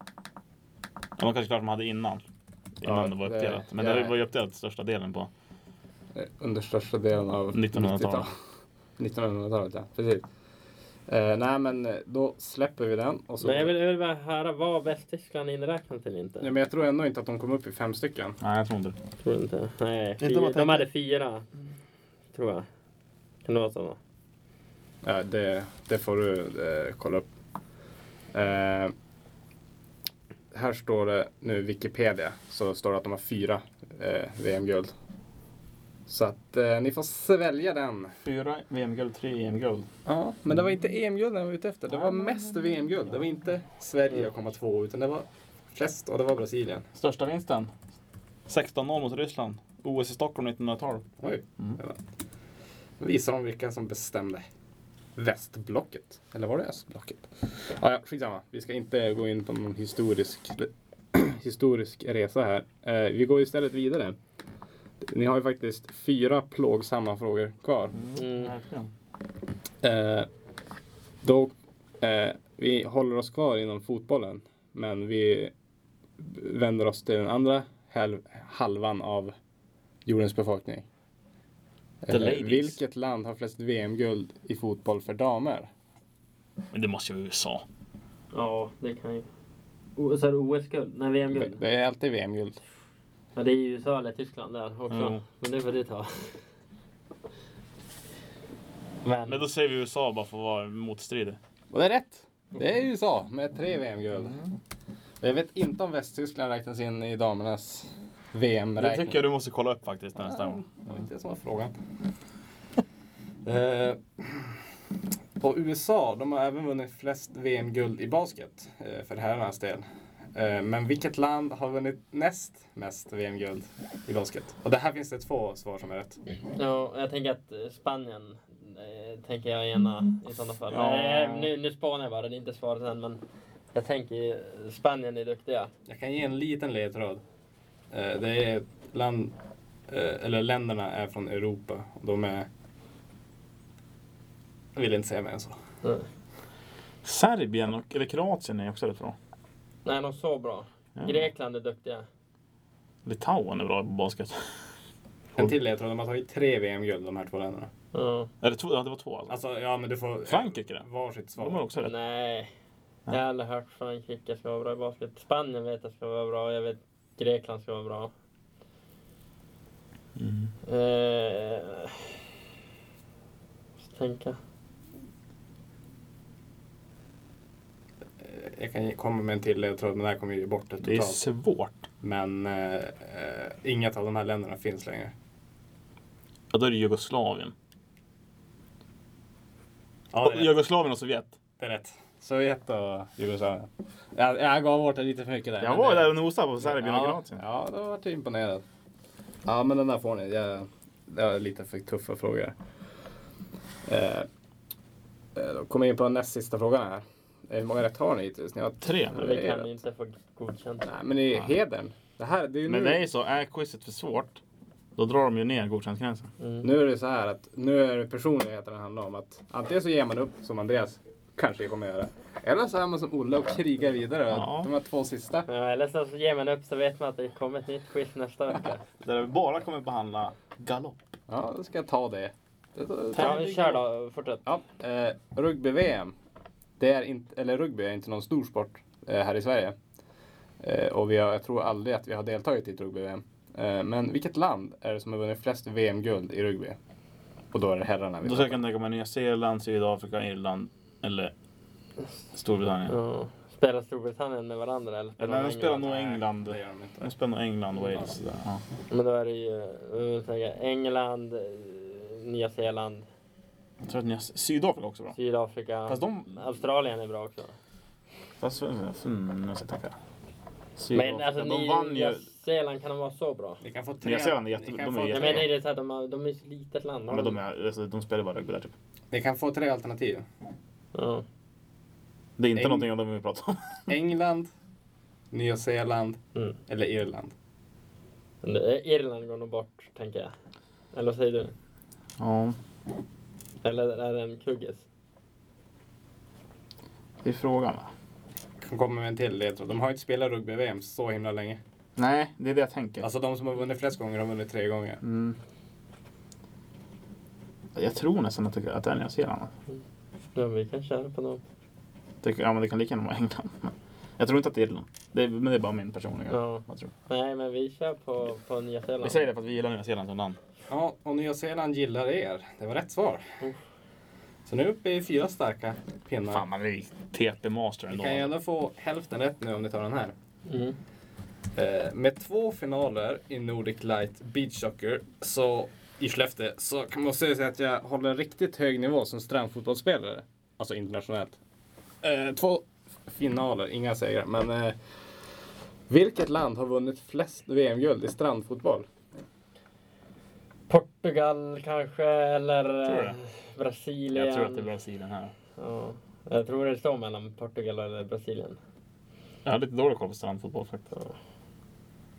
S2: Ja, det var kanske klart de hade innan. Innan
S3: Ja,
S2: det var
S3: det-
S2: uppdelat. Men
S3: det-
S2: det var ju uppdelat största delen på
S3: Eh, Under största delen av
S2: 1900-talet.
S3: 1900-talet, ja. Precis. Eh, nej, men eh, då släpper vi den. Och så...
S1: Men jag vill, jag vill bara höra, var Västtyskland inräknat eller inte?
S3: Nej, men jag tror ändå inte att de kom upp i fem stycken.
S2: Nej, jag tror inte det.
S1: Jag tror inte. Nej,
S3: om
S1: fyra,
S3: man
S1: de
S3: tänker-
S1: hade fyra. Tror jag. Kan det vara så?
S3: Ja, det, det får du eh, kolla upp. Eh, här står det nu Wikipedia, så står det att de har fyra eh, VM-guld. Så att eh, ni får svälja den.
S2: Fyra VM-guld, tre EM-guld.
S3: Ja, men det var inte EM-guld jag var ute efter. Det var mest VM-guld. Det var inte Sverige att komma två utan det var flest och det var Brasilien.
S2: Största vinsten? 16-0 mot Ryssland. OS i Stockholm 1912.
S3: Oj.
S2: Mm.
S3: det var- Nu visar de vilka som bestämde. Västblocket. Eller var det östblocket? Ja, ja, skitsamma. Vi ska inte gå in på någon historisk, (clears throat) historisk resa här. Eh, vi går istället vidare. Ni har ju faktiskt fyra plågsamma frågor kvar.
S1: Mm.
S2: Verkligen.
S3: Eh, då, eh, vi håller oss kvar inom fotbollen, men vi vänder oss till den andra hälv, halvan av jordens befolkning. Eh,
S2: The ladies.
S3: vilket land har flest VM-guld i fotboll för damer?
S2: Men det måste ju vara USA.
S1: Ja, det kan ju... O- Så är det OS-guld? Nej,
S3: Det,
S1: VM-guld?
S3: det är alltid VM-guld.
S1: Ja, det är ju USA eller Tyskland där också.
S2: Mm.
S1: Men det får du ta. Men...
S2: Men då säger vi USA bara för att vara motstridig.
S3: Och det är rätt! Det är USA med tre VM-guld. Jag vet inte om Västtyskland räknas in i damernas
S2: Det
S3: VM-räkning.
S2: tycker jag du måste kolla upp faktiskt nästa gång.
S3: Det var inte det som var frågan. Eh, och USA, de har även vunnit flest VM-guld i basket eh, för herrarnas del. Eh, men vilket land har vunnit näst mest VM-guld i basket? Och det här finns det två svar som är rätt.
S1: Ja, jag tänker att eh, Spanien eh, tänker jag ena i sådana fall.
S2: Ja.
S1: Nej, nu, nu spanar jag bara, det är inte svaret än. Men jag tänker eh, Spanien är duktiga.
S3: Jag kan ge en liten ledtråd. Eh, det är ett land, eh, eller länderna är från Europa. Och de är... Jag vill inte säga mer än så.
S1: Mm.
S2: Serbien och eller Kroatien är också rätt bra.
S1: Nej, de är så bra.
S2: Ja.
S1: Grekland är duktiga.
S2: Litauen är bra på basket.
S3: En till ledtråd, de har tagit tre VM-guld de här två länderna.
S1: Ja.
S2: Eller två, ja, det var två alltså.
S3: Alltså, ja men du får...
S2: Frankrike då?
S3: Varsitt
S2: De har
S3: svar.
S2: också rätt.
S1: Nej. Jag
S2: Nej.
S1: har aldrig hört Frankrike ska vara bra i basket. Spanien vet jag ska vara bra. Jag vet Grekland ska vara bra.
S2: Mm.
S1: Eh, måste tänka.
S3: Eh, Jag jag kan komma med en till ledtråd, men det här kommer ju ge bort det
S2: Det är
S3: totalt.
S2: svårt.
S3: Men eh, eh, inget av de här länderna finns längre.
S2: Ja, då är det Jugoslavien.
S3: Ja, det är rätt.
S2: Jugoslavien och Sovjet.
S3: Det är rätt. Oh, Sovjet och Jugoslavien. Jag, jag gav bort det lite för mycket där.
S2: Jag
S3: men
S2: var
S3: det-
S2: där och nosade på Serbien och
S3: ja,
S2: Kroatien.
S3: ja, då vart jag imponerad. Ja, men den där får ni. Jag, det var lite för tuffa frågor. Eh, eh, då kommer jag in på den näst sista frågan här. Eh, Hur många rätt har ni hittills? Ni har
S2: Tre.
S1: Men vi kan inte få godkänt.
S3: Nej, men det är hedern. Det här, det är ju
S2: Men
S3: nu.
S2: det är ju så, är quizet för svårt, då drar de ju ner godkäntgränsen.
S1: Mm.
S3: Nu är det så här att nu är det personligheten det handlar om. Att antingen så ger man upp som Andreas kanske kommer göra. Eller så är man som Olle och krigar vidare.
S2: Ja.
S3: De här två sista.
S1: Ja, eller så så ger man upp så vet man att det kommer ett nytt quiz nästa vecka.
S2: Där vi bara kommer behandla galopp.
S3: Ja, då ska jag ta det. Det- det-
S1: Ja, vi kör då. Fortsätt.
S3: Ja, eh, rugby-VM. Det är inte, eller rugby är inte någon stor sport eh, här i Sverige. Eh, och vi har, jag tror aldrig att vi har deltagit i ett rugby-VM. Eh, men vilket land är det som har vunnit flest VM-guld i rugby? Och då är det herrarna. vi
S2: Då
S3: pratar
S2: kan jag tänka mig Nya Zeeland, Sydafrika, Irland eller Storbritannien.
S1: Ja. Spelar Storbritannien med varandra eller
S2: Eller de
S1: de
S2: spelar nog
S1: England?
S2: England.
S3: Det gör de inte.
S2: De spelar nog England och Wales. Där. Ja.
S1: Men då är det ju eh, så här, England, eh, Nya Zeeland,
S2: Jag tror att Nya... Sydafrika också bra.
S1: Sydafrika.
S2: Fast de...
S1: Australien är bra också.
S2: Fast... Mm, jag ska tänka.
S1: Men alltså,
S2: de
S1: ni,
S2: vann
S1: Nya
S2: ju...
S1: Zeeland kan de vara så bra?
S3: Ni kan få
S2: Nya Zeeland är jätte-
S3: ni kan
S2: de är
S1: Jag
S3: få
S2: jätte-
S3: tre-
S1: menar är det så att de, har, de är ju ett litet land.
S2: Ja, men de, är, alltså, de spelar bara rugby där typ.
S3: Ni kan få tre alternativ.
S1: Ja.
S2: Det är inte
S3: Eng-
S2: någonting av dem vi pratar om.
S3: England, Nya Zeeland
S1: Mm.
S3: eller Irland.
S1: Men det- Irland går nog bort, tänker jag. Eller vad säger du?
S2: (laughs) Ja.
S1: Eller är det en kuggis?
S2: Det är frågan va?
S3: Kan komma med en till ledtråd. De har ju inte spelat rugby-VM så himla länge.
S2: Nej, det är det jag tänker.
S3: Alltså de som har vunnit flest gånger har vunnit tre gånger.
S2: Mm. Jag tror nästan att det, att det är Nya Zeeland.
S1: Ja, vi kan köra på dem.
S2: Det, ja, men det kan lika gärna vara England. (laughs) Men Jag tror inte att det är Irland. Det är, men det är bara min personliga.
S1: Ja.
S2: Jag tror.
S1: Nej, men vi kör på, på Nya Zeeland.
S2: Vi säger det för att vi gillar Nya Zeeland som land.
S3: Ja, och Nya Zeeland gillar er. Det var rätt svar.
S1: Mm.
S3: Så nu är vi uppe i fyra starka pinnar.
S2: Fan, man är ju TP-master
S3: Ni
S2: ändå.
S3: kan ju ändå få hälften rätt nu om ni tar den här.
S1: Mm.
S3: Eh, med två finaler i Nordic Light Beach Soccer så, i Skellefteå så kan man säga att jag håller en riktigt hög nivå som strandfotbollsspelare. Alltså internationellt. Eh, två finaler, inga segrar. Men eh, vilket land har vunnit flest VM-guld i strandfotboll?
S1: Portugal kanske, eller
S2: Tror du
S1: eh,
S2: det?
S1: Brasilien.
S2: Jag tror att det är Brasilien här.
S1: Ja. Jag tror det står mellan Portugal eller Brasilien.
S2: Jag har lite dålig koll på strandfotboll faktiskt.
S1: Ja.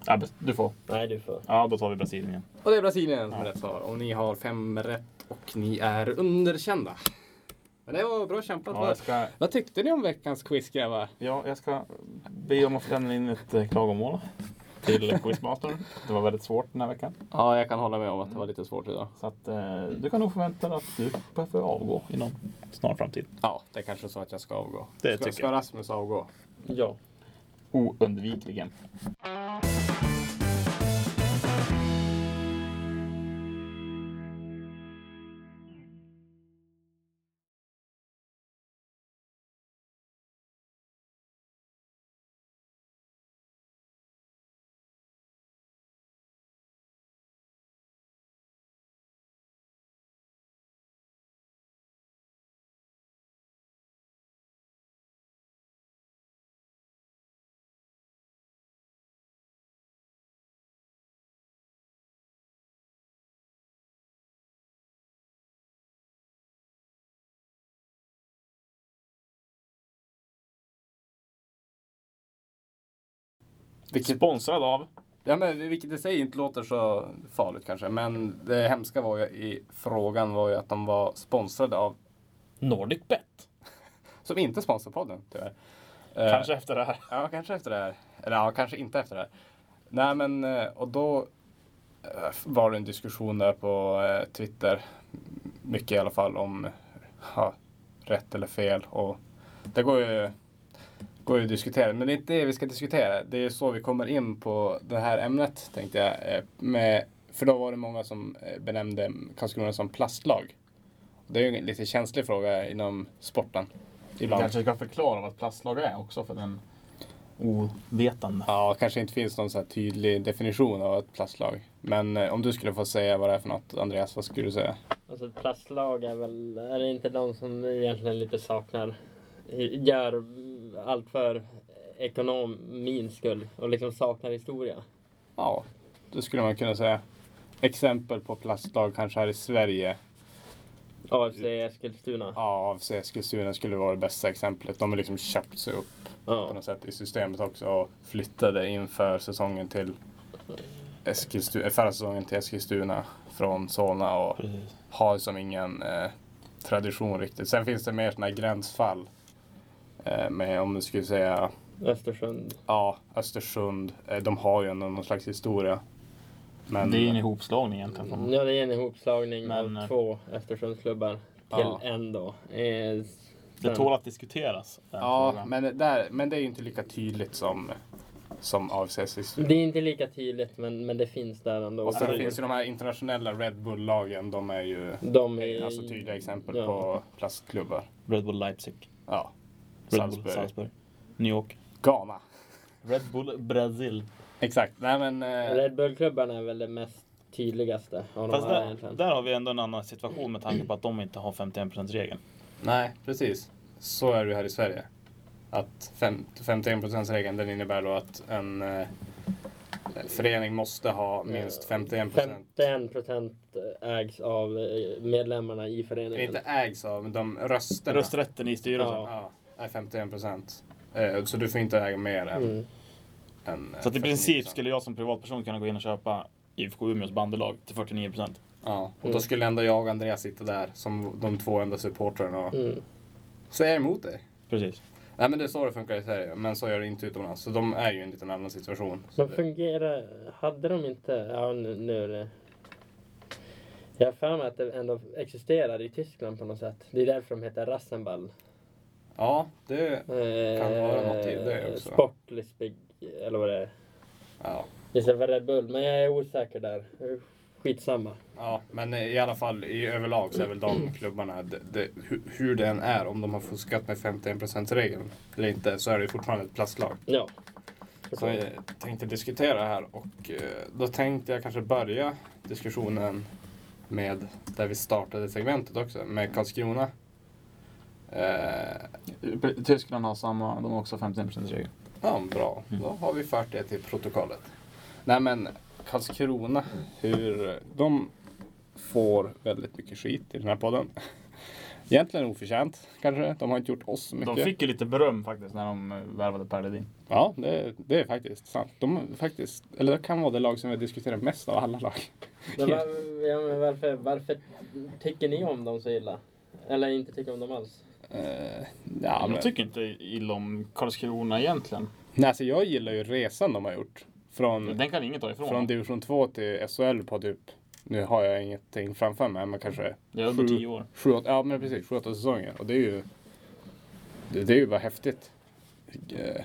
S2: Ja, men du får.
S1: Nej, du får.
S2: Ja, då tar vi Brasilien igen.
S3: Och det är Brasilien som är rätt svar. Och ni har fem rätt och ni är underkända. Men det var bra kämpat.
S2: Ja, jag
S3: vad,
S2: ska,
S3: vad tyckte ni om veckans quiz grabbar?
S2: ja, jag ska be om att få lämna in ett eh, klagomål till (laughs) Quizmastern. Det var väldigt svårt den här veckan.
S3: Ja, jag kan hålla med om att det var lite svårt idag.
S2: Så att, eh, du kan nog förvänta dig att du behöver avgå inom snar framtid.
S3: Ja, det är kanske så att jag ska avgå.
S2: Det
S3: ska,
S2: tycker
S3: ska
S2: jag.
S3: Rasmus avgå?
S1: Ja.
S2: Oundvikligen. Sponsrad av
S3: Ja, men vilket i sig inte låter så farligt kanske. Men det hemska var ju i frågan var ju att de var sponsrade av,
S2: NordicBet.
S3: som inte sponsrar podden tyvärr. Eh,
S2: Kanske efter det här.
S3: Ja, kanske efter det här. Eller ja, kanske inte efter det här. Nej, men eh, och då eh, var det en diskussion där på eh, Twitter, mycket i alla fall, om ja, rätt eller fel. Och det går ju, går ju att diskutera, men det är inte det vi ska diskutera. Det är så vi kommer in på det här ämnet, tänkte jag. eh, Med, för då var det många som eh, benämnde Karlskrona som plastlag. Det är ju en lite känslig fråga inom sporten.
S2: Ibland.
S4: kanske ska förklara vad ett plastlag är också för den ovetande.
S3: Ja, kanske inte finns någon så här tydlig definition av ett plastlag. Men eh, om du skulle få säga vad det är för något, Andreas, vad skulle du säga?
S1: Alltså ett plastlag är väl, är det inte de som egentligen lite saknar, gör allt för ekonomins skull och liksom saknar historia?
S3: Ja, det skulle man kunna säga. Exempel på plastlag kanske här i Sverige.
S1: AFC Eskilstuna.
S3: Ja, AFC Eskilstuna skulle vara det bästa exemplet. De har liksom köpt sig upp på
S1: Ja.
S3: något sätt i systemet också och flyttade inför säsongen till Eskilstuna, förra säsongen till Eskilstuna från Solna och
S2: Precis.
S3: har som ingen eh, tradition riktigt. Sen finns det mer sådana här gränsfall. Eh, med om du skulle säga,
S1: Östersund.
S3: ja, Östersund, eh, de har ju ändå någon slags historia. Men,
S2: Det är ju en ihopslagning egentligen. Från,
S1: Ja, det är en ihopslagning
S2: Mm. Men,
S1: av
S2: eh,
S1: två Östersundsklubbar till
S3: Ja.
S1: en då. Eh,
S2: det tål att diskuteras. Den
S3: ja,
S2: frågan.
S3: men, det där, men det är ju inte lika tydligt som, som AFC Eskilstuna.
S1: det är inte lika tydligt, men, men det finns där ändå.
S3: Och sen Alltså, finns ju de här internationella Red Bull-lagen. De är ju
S1: de är,
S3: alltså, tydliga exempel
S1: ja.
S3: på plastklubbar.
S2: Red Bull Leipzig.
S3: Ja.
S2: Red Bull
S3: Salzburg.
S2: Salzburg. New York.
S3: Ghana.
S2: Red Bull Brasil.
S3: Exakt. Nej, men, eh,
S1: Red Bull-klubbarna är väl det mest tydligaste av de
S2: Fast
S1: här
S2: där,
S1: egentligen.
S2: där har vi ändå en annan situation med tanke på att de inte har 51%-regeln.
S3: nej, precis. Så är det ju här i Sverige. Att fem- 51%-regeln den innebär då att en eh, förening måste
S1: Eh,
S3: ha minst 51%.
S1: 51 procent ägs av eh, medlemmarna i
S3: Det
S1: föreningen.
S3: inte ägs av, men de rösterna. Alltså,
S2: Rösträtten i styrelsen.
S1: Ja.
S3: Ja, är 51%. Eh, så du får inte äga mer än...
S1: Mm.
S3: än eh,
S2: Så att i princip
S3: 49%.
S2: skulle jag som privatperson kunna gå in och köpa IFK Umeås bandelag till 49%.
S3: Ja, och
S1: Mm.
S3: då skulle ändå jag och Andreas sitta där som de två enda supportrarna och
S1: Mm.
S3: säga emot dig.
S2: Precis.
S3: Nej men det är så det funkar i Sverige, men så gör det inte utomlands. Så de är ju i en liten annan situation. Så
S1: Men
S3: det,
S1: fungerar... Hade de inte... Ja, nu, nu är det... Jag har för mig att det ändå existerar i Tyskland på något sätt. Det är därför de heter Rassenball.
S3: ja, det...
S1: Eh,
S3: Kan vara något i det också.
S1: Sportlisbig, Eh, eller vad det är.
S3: Ja.
S1: Istället för Red Bull. Men jag är osäker där. Skitsamma.
S3: ja, men i alla fall i överlag så är väl de klubbarna, det, det, hu- hur det än är, om de har fuskat med 51%-regeln eller inte, så är det ju fortfarande ett plastlag.
S1: Ja.
S3: Så jag tänkte diskutera det här och eh, då tänkte jag kanske börja diskussionen med där vi startade segmentet också, med Karlskrona. Eh,
S2: Tyskland har samma, de har också 51%-regel.
S3: Ja, bra.
S2: Mm.
S3: Då har vi fört det till protokollet. Nej men, Karlskrona, hur... De får väldigt mycket skit i den här podden. (laughs) Egentligen oförtjänt kanske. De har inte gjort oss mycket.
S2: De fick ju lite beröm faktiskt när de eh, värvade Per Ledin.
S3: Ja, det, det är faktiskt sant. De är faktiskt, eller det kan vara det lag som vi har diskuterat mest av alla lag.
S1: Men var, ja, men varför, varför tycker ni om dem så illa? Eller inte tycker om dem alls?
S3: Eh, ja, men,
S2: Jag tycker inte illa om Karlskrona egentligen.
S3: nej, alltså jag gillar ju resan de har gjort. Från,
S2: Den kan ingen ta ifrån.
S3: Mm. från typ division 2 till SHL på typ, nu har jag ingenting framför mig, men kanske
S2: det är under
S3: sju-
S2: tio år.
S3: Sju, åt- ja men precis, sju, åtta säsonger. Och det är ju, det, det är ju bara häftigt. Eh,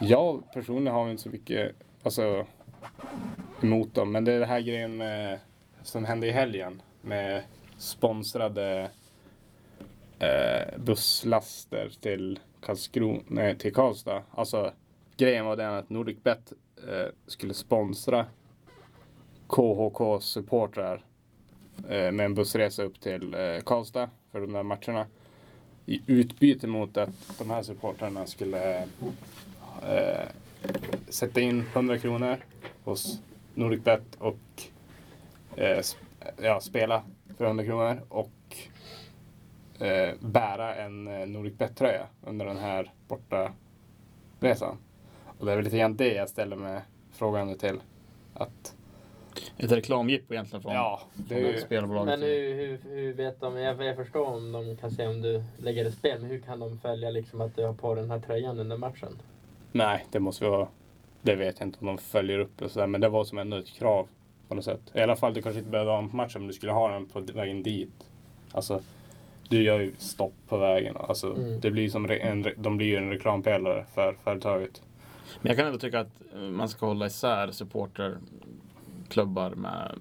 S3: Jag personligen har inte så mycket alltså, emot dem, men det är det här grejen med, som hände i helgen med sponsrade eh, busslaster till, Karlskron- nej, till Karlstad. Alltså, grejen var den att Nordicbet eh, skulle sponsra KHK-supportrar eh, med en bussresa upp till eh, Karlstad för de där matcherna. I utbyte mot att de här supportrarna skulle eh, sätta in 100 kronor hos Nordicbet och eh, sp- ja, spela för 100 kronor och eh, bära en eh, Nordicbet-tröja under den här borta resan. Och det är väl lite grann det jag ställer mig frågande till. Att,
S2: Ett reklamjippo egentligen från,
S3: ja, det är
S2: från
S3: ju...
S2: spelbolaget.
S1: Men hur, hur, hur vet de? Jag, jag förstår om de kan se om du lägger ett spel, men hur kan de följa liksom att du har på den här tröjan under matchen?
S3: Nej, det måste vara... Det vet jag inte om de följer upp och sådär, men det var som ändå ett krav på något sätt. I alla fall, du kanske inte behövde ha en på matchen, men du skulle ha den på vägen dit. Alltså, du gör ju stopp på vägen. Alltså,
S1: Mm.
S3: det blir som re- en, re- de blir ju en reklampelare för företaget.
S2: Men jag kan ändå tycka att eh, man ska hålla isär supporterklubbar med,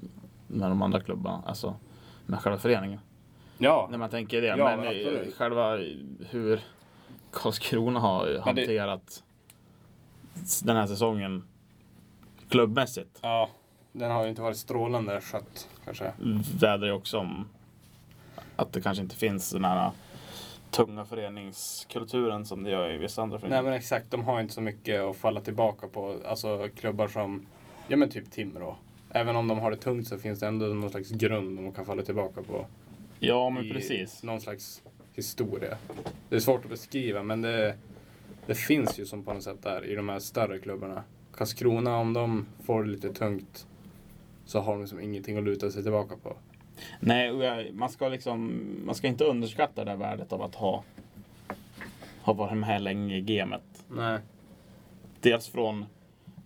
S2: med de andra klubbarna. Alltså med själva föreningen.
S3: Ja,
S2: När man tänker det.
S3: Ja,
S2: men eh,
S3: absolut.
S2: själva hur... Karlskrona har ju
S4: Men det-
S2: hanterat den här säsongen klubbmässigt.
S3: Ja, den har ju inte varit strålande skött kanske.
S2: Vädrar ju också om att det kanske inte finns den här tunga föreningskulturen som det gör i vissa andra
S3: Nej
S2: föreningar.
S3: men exakt, de har inte så mycket att falla tillbaka på. Alltså klubbar som, ja men typ Timrå. Även om de har det tungt så finns det ändå någon slags grund de kan falla tillbaka på.
S2: ja, men
S3: i
S2: precis.
S3: Någon slags historia. Det är svårt att beskriva men det, det finns ju som på något sätt där i de här större klubbarna. Karlskrona, om de får det lite tungt så har de liksom ingenting att luta sig tillbaka på.
S2: Nej, och jag, man ska liksom, man ska inte underskatta det här värdet av att ha, ha varit med länge i gamet.
S3: Nej.
S2: Dels från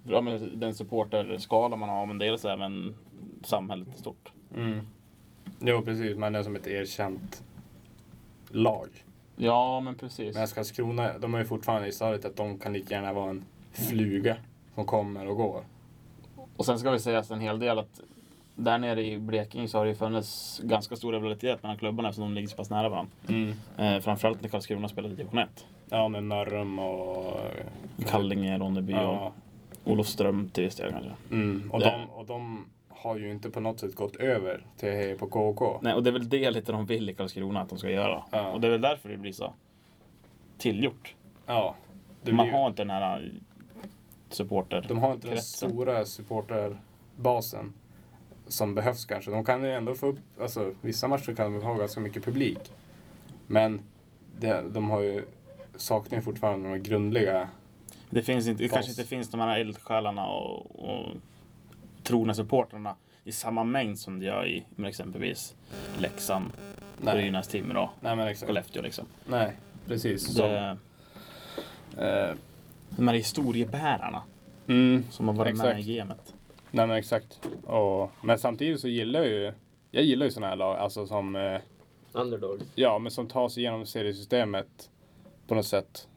S2: ja, men den supporterskala man har, men dels även samhället i stort.
S3: Mm. Jo precis, man är som ett erkänt lag.
S2: Ja, men precis.
S3: Medan Karlskrona, de är ju fortfarande i stadiet att de kan lika gärna vara en fluga som kommer och går.
S2: Och sen ska vi säga en hel del att där nere i Blekinge så har det ju funnits ganska stor rivalitet mellan klubbarna eftersom de ligger så pass nära varandra.
S3: Mm.
S2: Eh, framförallt när Karlskrona spelade i division 1.
S3: Ja, med Mörrum och...
S2: Mm. Kallinge, Ronneby och
S3: Ja.
S2: Olofström till viss del kanske.
S3: Mm. Och,
S2: Det-
S3: de, och de har ju inte på något sätt gått över till att heja på KK.
S2: Nej, och det är väl det lite de vill i Karlskrona att de ska göra.
S3: Ja.
S2: Och det är väl därför det blir så tillgjort.
S3: Ja. Det blir
S2: Man
S3: ju-
S2: har inte den här äh, supporter...
S3: De har inte den
S2: kretsen.
S3: stora supporterbasen som behövs kanske. De kan ju ändå få upp, alltså vissa matcher kan de ha ganska mycket publik. Men det, de har ju, saknar ju fortfarande de grundliga
S2: Det, finns inte, det
S3: Fas.
S2: kanske inte finns de här eldsjälarna och, och trogna supportrarna i samma mängd som det gör i med exempelvis Leksand,
S3: Nej,
S2: Brynäs, Timrå,
S3: nej men exakt.
S2: Skellefteå. Liksom.
S3: Nej, precis. Som,
S2: Det,
S3: eh,
S2: de här historiebärarna
S3: mm,
S2: som har varit med
S3: Exakt.
S2: i gamet.
S3: nej men exakt. Och, men samtidigt så gillar jag ju, jag gillar ju sådana här lag, alltså som, eh,
S1: Underdogs.
S3: ja men som tar sig igenom seriesystemet på något sätt.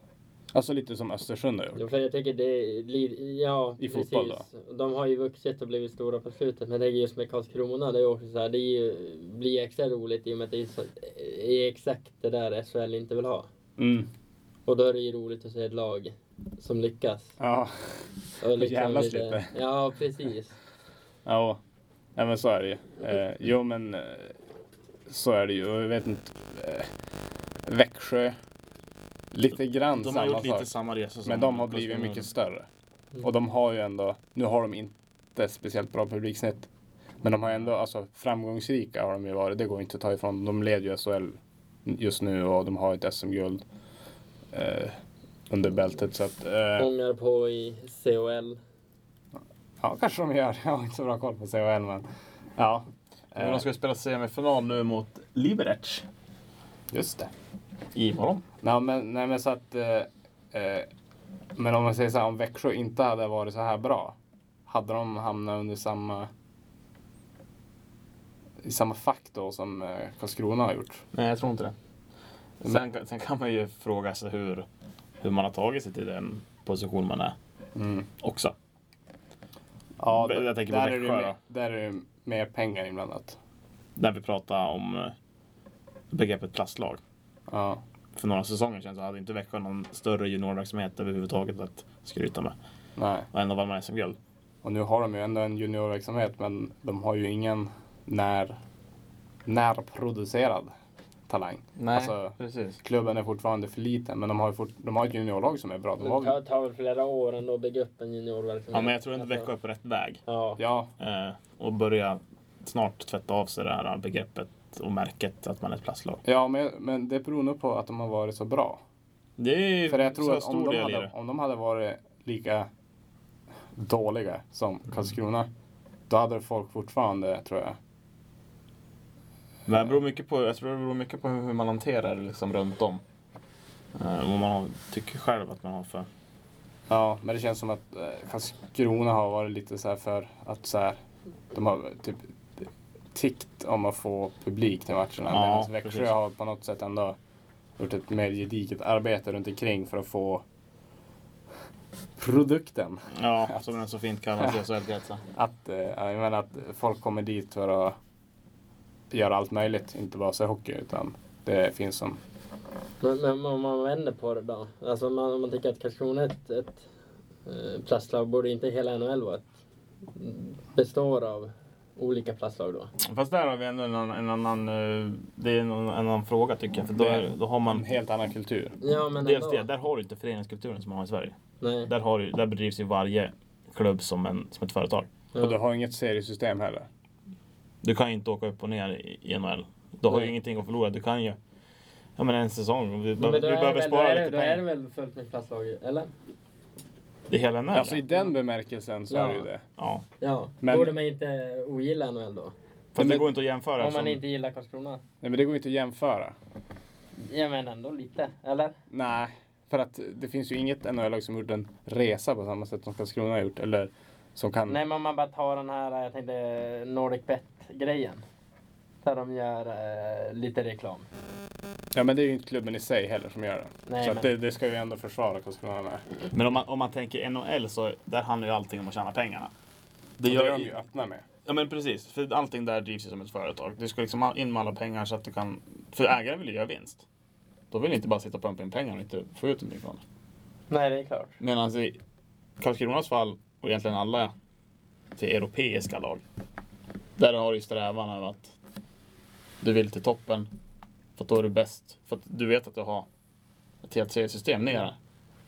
S3: Alltså lite som Östersund har gjort.
S1: Ja, för jag tänker det li- ja,
S3: I fotboll
S1: De har ju vuxit och blivit stora på slutet. Men det är just med Karlskrona, det är ju också så här, det är ju, blir extra roligt i och med att det är, så, är exakt det där SHL inte vill ha.
S3: Mm.
S1: Och då är det ju roligt att se ett lag som lyckas.
S3: Ja.
S1: Och
S3: jävlas
S1: lite-
S3: lite.
S1: Ja, precis.
S3: (laughs) Ja, ja men så är det ju. Eh, jo, men eh, så är det ju. Och Jag vet inte. Eh, Växjö. Lite grann
S2: De har
S3: samma
S2: gjort
S3: sak.
S2: lite samma resa som
S3: men de har blivit mycket större.
S1: Mm.
S3: Och de har ju ändå, nu har de inte speciellt bra publiksnitt. Men de har ändå, alltså framgångsrika har de ju varit. Det går inte att ta ifrån. De leder ju SHL just nu och de har ett SM-guld eh, under bältet. Så att, eh,
S2: Mm.
S1: Ångar på i COL.
S3: ja, kanske de gör. Jag har inte så bra koll på CHL, men ja. Eh.
S2: Men de ska ju spela semifinal nu mot Liberec
S3: Just det.
S2: imorgon.
S3: Nej men, nej, men så att... Eh, eh, men om man säger så här, om Växjö inte hade varit så här bra. Hade de hamnat under samma... I samma fack då som eh, Karlskrona har gjort.
S2: Nej, jag tror inte det. Sen, sen kan man ju fråga sig hur, hur man har tagit sig till den position man är också.
S3: Ja,
S2: Jag tänker på
S3: Mm. där, är det,
S2: Växjö
S3: mer- där är det mer pengar inblandat.
S2: När vi pratade om eh, begreppet plastlag.
S3: Ja.
S2: För några säsonger sedan så hade inte Växjö någon större juniorverksamhet överhuvudtaget att skryta med.
S3: Nej.
S2: Och ändå vann man SM-guld.
S3: Och nu har de ju ändå en juniorverksamhet men de har ju ingen när, närproducerad talang.
S2: Nej,
S3: Alltså,
S2: precis.
S3: Klubben är fortfarande för liten men de har, ju fort, de har ett juniorlag som är bra. De
S1: Det
S3: har,
S1: tar, tar väl flera år ändå att bygga upp en juniorverksamhet. Alltså,
S2: Ja, men jag tror inte Växjö är på rätt väg.
S1: Ja.
S3: ja,
S2: Eh, och börja snart tvätta av sig det här begreppet och märket att man är ett plastlag.
S3: Ja, men, men det beror nog på att de har varit så bra.
S2: Det är ju
S3: För jag tror
S2: så
S3: att om
S2: stor
S3: de,
S2: del i
S3: hade,
S2: det.
S3: om de hade varit lika dåliga som
S2: Mm.
S3: Karlskrona, då hade folk fortfarande, tror jag.
S2: Men det beror mycket på, jag tror det beror mycket på hur man hanterar det liksom runt om. Eh, och vad man har- tycker själv att man har för...
S3: Ja, men det känns som att eh, Karlskrona har varit lite så här för att så här, de har typ tickt om att få publik till matcherna. Medan Växjö
S2: precis.
S3: har på något sätt ändå gjort ett mer gediget arbete runt omkring för att få produkten.
S2: Ja, som den så fint kallas i SHL-kretsar.
S3: Att, eh, ja, jag menar att folk kommer dit för att göra allt möjligt, inte bara se hockey utan det finns som
S1: Men, men om man vänder på det då. Alltså man, om man tänker att kanske Krona är ett, ett eh, plastlag, borde inte hela NHL vara ett, består av olika plastlag då?
S2: Fast där har vi ändå en, annan- en annan... eh, Det är en, en annan fråga tycker jag. För då, är, då har
S3: En
S2: man...
S3: helt annan kultur.
S1: Ja, men
S2: Dels
S1: ändå.
S2: det, där har du inte föreningskulturen som man har i Sverige.
S1: Nej.
S2: Där, har du, där bedrivs ju varje klubb som, en, som ett företag.
S3: Och du
S1: Ja.
S3: har inget seriesystem heller.
S2: Du kan ju inte åka upp och ner i- i NHL. Du har ju
S1: Nej.
S2: ingenting att förlora. Du kan ju... Ja men en säsong.
S1: Men
S2: Du, du
S1: då är det
S2: behöver
S1: väl- då
S2: spara
S1: är det-
S2: lite
S1: Då är det
S2: pengar.
S1: väl fullt med plastlag, eller?
S2: Det är hela NHL.
S3: Alltså i den bemärkelsen så är det ju
S1: Ja.
S3: det.
S2: ja.
S1: Ja.
S3: Men-
S1: Borde man inte ogilla NHL då?
S2: Fast det
S3: Men-
S2: går inte att jämföra.
S1: Om man
S2: eftersom-
S1: inte gillar Karlskrona?
S3: Nej men det går ju inte att jämföra.
S1: Ja, men ändå lite, eller?
S3: Nej, för att det finns ju inget NHL-lag som gjort en resa på samma sätt som Karlskrona har gjort. Eller som
S2: Mm.
S3: kan...
S1: Nej, men om man bara tar den här, jag tänkte, Nordic Bet-grejen. Där de gör eh, lite reklam.
S3: Ja men det är ju inte klubben i sig heller som gör det.
S1: Nej,
S3: så
S1: men-
S3: att det, det ska vi ändå försvara Karlskrona med.
S2: Men om man, om man tänker NHL så där handlar ju allting om att tjäna pengarna. Det
S3: Och det är
S2: gör
S3: de ju öppna med.
S2: Ja men precis, för allting där drivs ju som ett företag. Du ska liksom ha in med alla pengar så att du kan... För ägaren vill ju göra vinst. Då vill inte bara sitta och pumpa in pengar och inte få ut någonting från det.
S1: Nej, det är klart.
S2: Medan i Karlskronas fall, och egentligen alla till europeiska lag, där har du ju strävan över att du vill till toppen, för att då är du bäst. För att du vet att du har ett helt seriesystem nere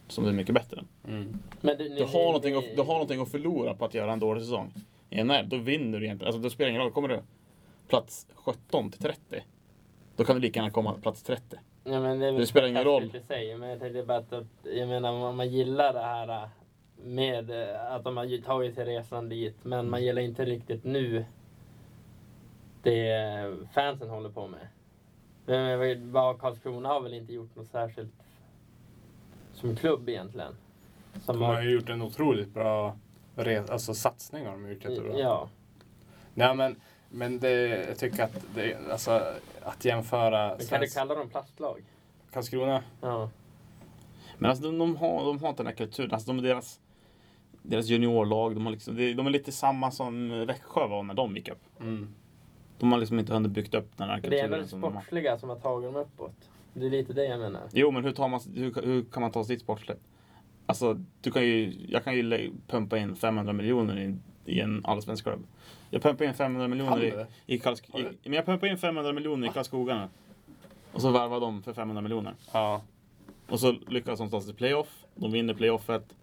S2: som du är mycket bättre än.
S3: Mm.
S1: Men du,
S2: Du har, någonting att, du har någonting att förlora på att göra en dålig säsong. I NHL, då vinner du egentligen. Alltså, då spelar det ingen roll. Kommer du plats 17 till 30, då kan du lika gärna komma plats 30.
S1: Ja, men det, är väl
S2: Det spelar ingen roll.
S1: taskigt i sig, men jag tänkte bara att, att jag menar, om man gillar det här äh, med äh, att de har ju tagit sig resan dit, men
S2: Mm.
S1: man gillar inte riktigt nu det äh, fansen håller på med. Men, men, vad Karlskrona har väl inte gjort något särskilt som klubb egentligen. Som
S3: De har ju gjort en otroligt bra resa, alltså satsning har de gjort jättebra.
S1: ja.
S3: Nej men, men det, jag tycker att det, alltså, att jämföra
S1: Men Kan du
S3: svensk,
S1: kalla dem plastlag?
S3: Karlskrona.
S1: Ja.
S2: Men alltså, de, de, har, de har inte den här kulturen. Alltså, de, deras, deras juniorlag, de, har liksom, de, de är lite samma som Växjö var när de gick upp.
S3: Mm.
S2: De har liksom inte hunnit byggt upp den här
S1: Det är
S2: kulturen.
S1: ändå det
S2: som de har.
S1: sportsliga som har tagit dem uppåt. Det är lite det jag menar.
S2: Jo, men hur, tar man, hur, hur kan man ta sig dit sportsligt? Alltså, du kan ju, jag kan ju lä- pumpa in 500 miljoner i, i en allsvensk klubb. Jag pumpar in 500
S3: Kan
S2: miljoner
S3: du
S2: i,
S3: det? Ah.
S2: i, Karlsk, i men jag pumpar in 500 miljoner i Karlskoga nu. Och så värvar de för 500 miljoner.
S3: Ja.
S2: Och så lyckas de ta sig till playoff. De vinner playoffet.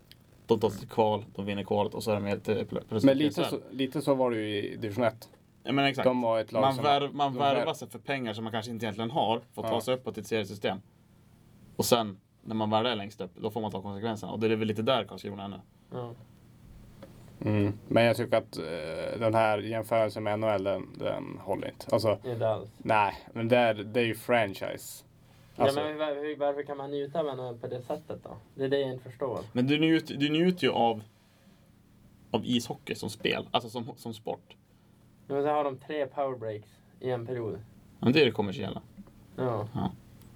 S2: De tar sig till kval. De vinner kvalet och så är de helt eh, pl- plötsligt
S3: Men
S2: i
S3: lite
S2: SHL.
S3: så, lite så var det ju i division 1.
S2: Ja, men exakt.
S3: De var ett lag
S2: man
S3: som...
S2: värv, man
S3: de
S2: värvar
S3: värv-
S2: sig för pengar som man kanske inte egentligen har för att ta
S3: Ja.
S2: sig uppåt i ett seriesystem. Och sen när man väl är längst upp, då får man ta konsekvenserna. Och det är väl lite där Karlskrona är nu.
S1: Ja.
S3: Mm. Men jag tycker att eh, den här jämförelsen med NHL, den, den håller inte. Alltså,
S1: Inte alls.
S3: nej, men det är, det är ju franchise. Alltså,
S1: ja, men var- hur, varför kan man njuta av NHL på det sättet då? Det är det jag inte förstår.
S2: Men du njuter, du njuter ju av, av ishockey som spel, alltså som, som sport.
S1: Men så har de tre powerbreaks i en period.
S2: Men det är det kommersiella.
S1: Ja.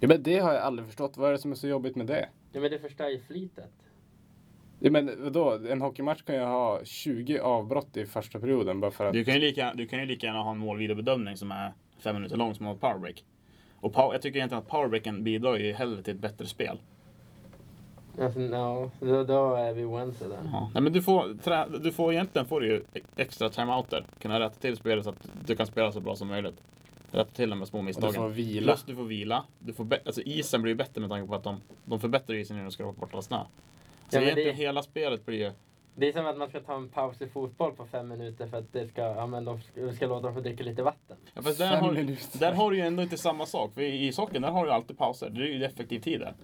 S3: ja, men det har jag aldrig förstått. Vad är det som är så jobbigt med det?
S1: ja men det förstör ju flitet.
S3: Ja, men vadå? En hockeymatch kan ju ha 20 avbrott i första perioden bara för att...
S2: Du kan ju lika, du kan ju lika gärna ha en målvideobedömning som är fem minuter lång som har ett powerbreak. Och pow, jag tycker egentligen att powerbreaken bidrar ju hellre till ett bättre spel.
S1: Alltså, no, då, då är vi oense där.
S2: Ja. Nej, men du får, trä, du får egentligen får du ju extra timeouter. Kunna rätta till spelet så att du kan spela så bra som möjligt. Rätta till de här små
S3: Och du
S2: misstagen.
S3: får vila.
S2: Plus du får vila. Du får bä- alltså, isen blir ju bättre med tanke på att de, de förbättrar isen när de ska bort all snö. Så
S1: men
S2: egentligen
S1: det-
S2: hela spelet blir ju...
S1: Det är som att man ska ta en paus i fotboll på fem minuter för att det ska, ja, men de ska, vi ska låta dem få dricka lite vatten.
S2: Ja, fast där,
S3: Fem
S2: har,
S3: minuter.
S2: där har du ju ändå inte samma sak. För i ishockeyn där har du ju alltid pauser. Det är ju effektiv tid där.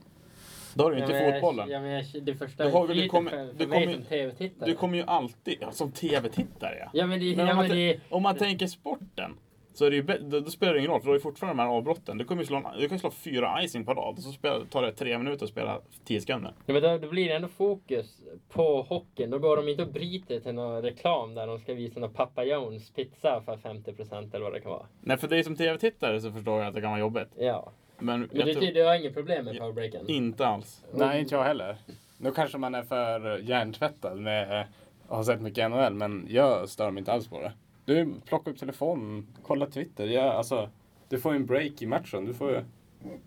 S2: Då har du ju
S1: Ja,
S2: inte
S1: men jag-
S2: fotbollen.
S1: Ja, men jag, det
S2: Du
S1: förstör
S2: har
S1: ju
S2: väl- du
S1: flitet
S2: kommer-
S1: för, för
S2: du
S1: mig
S2: kommer-
S1: som tv-tittare.
S2: Du kommer ju alltid... Ja, som tv-tittare ja.
S1: Ja men det...
S2: Men
S1: ja,
S2: om, man,
S1: men
S2: tän-
S1: det
S2: om man tänker sporten. Så är det ju bä- då, då spelar det ingen roll, för då är det fortfarande de här avbrotten. Du, kommer ju slå, en- du kan ju slå fyra icing på rad, och så spelar, tar det tre minuter att spela tio sekunder.
S1: Ja, men då, då blir det ändå fokus på hockeyn. Då går de inte och bryter till någon reklam där de ska visa någon Papa Jones pizza för 50% eller vad det kan vara.
S2: Nej, för dig som tv-tittare så förstår jag att det kan vara jobbigt.
S1: Ja.
S2: Men,
S1: Men typ-
S2: jag
S1: du,
S2: tror
S1: du har inget problem med powerbreaken?
S2: inte alls.
S3: Nej, inte jag heller. Nu kanske man är för hjärntvättad med har sett mycket NHL, men jag stör mig inte alls på det. Du, plocka upp telefonen, kolla Twitter. Ja, alltså, du får ju en break i matchen. Du får ju...
S2: Du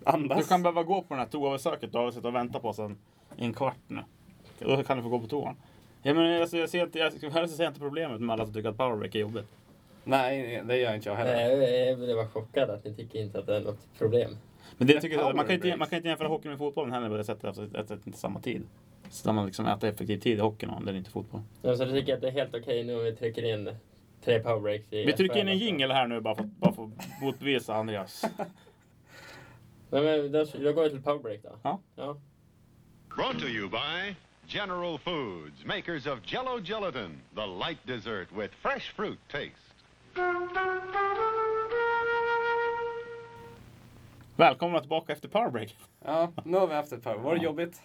S3: andas.
S2: kan behöva gå på den här toabesöket du har suttit och väntat på sedan en kvart nu. Då kan du få gå på toan. Ja, men alltså, jag ser inte, jag, jag ser inte problemet med alla som tycker att powerbreak är jobbigt.
S3: Nej, nej, det gör inte jag heller.
S1: Nej, jag blev bara chockad att ni tycker inte att det är något problem.
S2: Men det jag tycker jag, man, kan inte,
S3: Powerbreaks.
S2: man kan inte jämföra hockey med fotbollen heller på det sättet. Alltså, att det inte är samma tid. Så där man liksom äter effektiv tid i hockeyn och det är inte fotboll.
S1: Ja, så du tycker att det är helt okej nu om vi trycker in tre powerbreaks i
S2: Vi trycker in en
S1: alltså?
S2: jingle här nu bara för, bara för att motbevisa Andreas.
S1: Nej, men då, då går vi till powerbreak då.
S2: Ja.
S1: ja.
S5: Brought to you by General Foods, makers of Jello Gelatin, the light dessert with fresh fruit taste.
S2: Välkomna tillbaka efter powerbreak.
S3: Ja, nu har vi haft ett par. Var det jobbigt?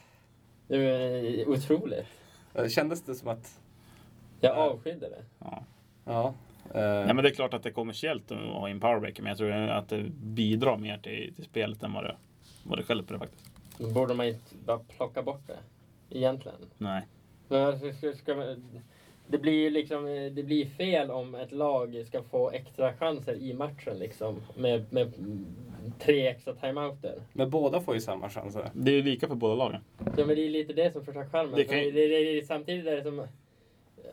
S1: Det är otroligt.
S3: Eh, Kändes det som att...
S1: Jag avskydde det.
S3: Ja. eh,
S2: Nej, men det är klart att det är kommersiellt att ha in powerbreak, men jag tror att det bidrar mer till, till spelet än vad det, vad det stjälper det faktiskt.
S1: Då borde man inte bara plocka bort det. Egentligen.
S2: Nej.
S1: Men alltså, ska, ska man, det blir ju liksom, eh, det blir fel om ett lag ska få extra chanser i matchen liksom. Med, med tre extra timeouter.
S3: Men båda får ju samma chanser.
S2: Det är ju lika för båda lagen.
S1: Ja men det är lite det som förtar charmen.
S2: Det
S1: Det
S2: kan ju-
S1: det, det, det, samtidigt är det som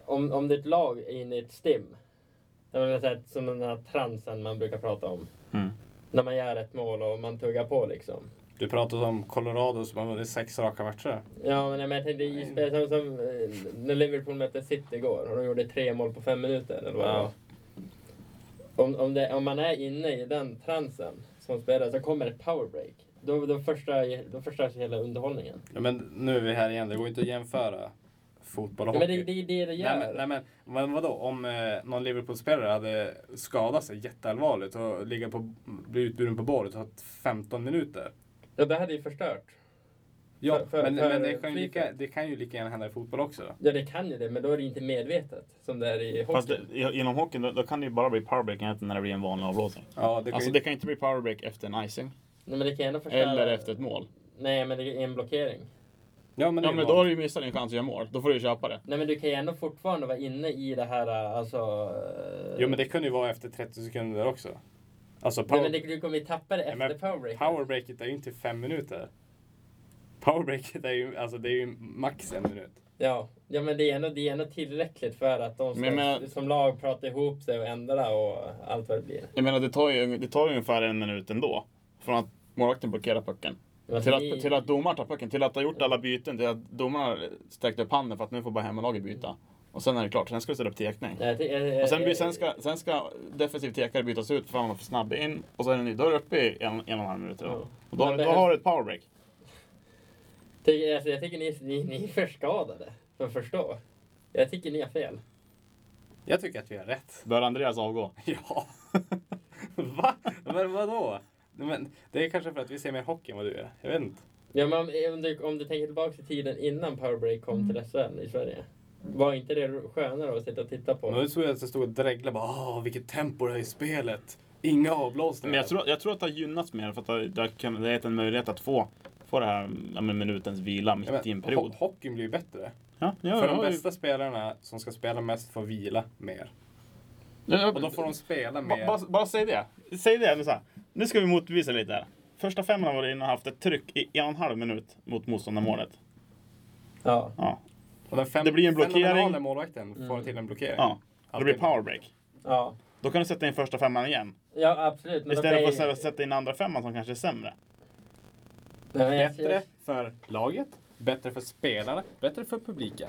S1: om, om ditt lag är inne i ett stim. Det är så här, som den här transen man brukar prata om.
S2: Mm.
S1: När man gör ett mål och man tuggar på liksom.
S3: Du pratade om Colorado som har vunnit sex raka matcher.
S1: Ja men, men jag tänkte i spel som, som eh, när Liverpool mötte City igår och de gjorde tre mål på fem minuter. Eller vad det
S3: Ja.
S1: var. om, om, det, om man är inne i den transen som spelare så kommer ett powerbreak. Då, då, förstör, ju- då förstörs hela underhållningen.
S3: Ja, men nu är vi här igen. Det går inte att jämföra fotboll och
S1: Ja,
S3: hockey.
S1: men det är det, är det det gör.
S3: Nej men, nej, men vad- vadå, om eh, någon Liverpool-spelare hade skadat sig jätteallvarligt och ligger på, blir utburen på bordet och tagit 15 minuter.
S1: Ja, det hade ju förstört.
S3: Ja,
S1: För- för-
S3: men,
S1: för-
S3: men det, kan ju
S1: för-
S3: lika, det kan ju lika gärna hända i fotboll också.
S1: Ja, det kan ju det, men då är det inte medvetet som det är i
S2: Fast
S1: hockey.
S2: det, i- inom hockeyn, då, då kan det ju bara bli powerbreak egentligen när det blir en vanlig avblåsning.
S3: Ja, det kan
S2: Alltså
S3: ju,
S2: det kan inte bli powerbreak efter en icing.
S1: Nej, men det kan ändå förstöra.
S2: Eller efter ett mål.
S1: Nej, men det är en blockering.
S3: ja, men, det
S2: Ja
S3: är
S2: men då
S3: bra.
S2: har du ju missat din chans att göra mål. Då får du ju köpa det.
S1: Nej, men du kan ju ändå fortfarande vara inne i det här, alltså...
S3: Jo, men det kunde ju vara efter 30 sekunder också. Alltså
S1: eh, Nej,
S3: power,
S1: men det, du kommer ju tappa det
S3: Ja,
S1: efter
S3: men
S1: powerbreak.
S3: powerbreaket är ju inte fem minuter. Powerbreaket är ju, alltså, det är ju max en minut.
S1: Ja. ja, men det är, ändå, det är ändå tillräckligt för att de ska,
S2: Men jag menar-
S1: som lag pratar ihop sig och ändra och allt vad det blir.
S2: Jag menar det tar ju, det tar ju ungefär en minut ändå. Från att målvakten blockerar pucken.
S1: Men alltså
S2: Till
S1: det-
S2: att, till att domaren tar pucken, till att ha gjort alla byten, till att domaren sträckte upp handen för att nu får bara hemmalaget byta. Och sen är det klart, sen ska det ställa upp tekning.
S1: Nej, jag ty- jag- jag-
S2: Och sen, blir- sen, ska, sen ska defensiv tekare bytas ut för att han var för snabb in. Och sen är det ny. Då är det uppe i en, en och en halv minut.
S1: Ja.
S2: Och då,
S1: Men
S2: då
S1: behövs-
S2: har du ett powerbreak.
S1: Ty- alltså, jag tycker ni, ni, ni är för skadade för att förstå. Jag tycker ni har fel.
S3: Jag tycker att vi har rätt.
S2: Bör Andreas avgå?
S3: (laughs) Ja. Va? Men vadå? Men det är kanske för att vi ser mer hockey än vad du gör. Jag vet inte.
S1: Ja, men om, om, du, om du tänker tillbaka till tiden innan Powerbreak kom till SHL i Sverige. Var inte det skönare att sitta och titta på?
S3: Men nu tror jag att jag stod och dreglade bara Åh, vilket tempo det är i spelet. Inga avblåsningar.
S2: Men jag tror, jag tror att det har gynnats mer för att det, det, kan, det är en möjlighet att få, få det här ja, men minutens vila mitt
S3: Ja, men
S2: i en period.
S3: ho- Hockeyn blir ju bättre.
S2: Ja, ja,
S3: för
S2: ja,
S3: de
S2: ja.
S3: bästa spelarna som ska spela mest får vila mer.
S2: Ja,
S3: Och då får de spela
S2: Ba-
S3: mer.
S2: Bara, bara säg det. Säg det nu så här. Nu ska vi motbevisa lite här. Första femman har varit inne och haft ett tryck i en och en halv minut mot motståndarmålet.
S1: Ja.
S2: Ja.
S3: Och den fem,
S2: Det blir en blockering. Mm.
S3: fenomenala målvakten får till en blockering.
S2: ja. Då blir det powerbreak.
S1: Ja.
S2: Då kan du sätta in första femman igen.
S1: ja, absolut. Men
S2: Istället
S1: då
S2: för
S1: kan
S2: att sätta- sätta in andra femman som kanske är sämre.
S1: Nej, men jag-
S3: Bättre för laget, bättre för spelarna, bättre för publiken.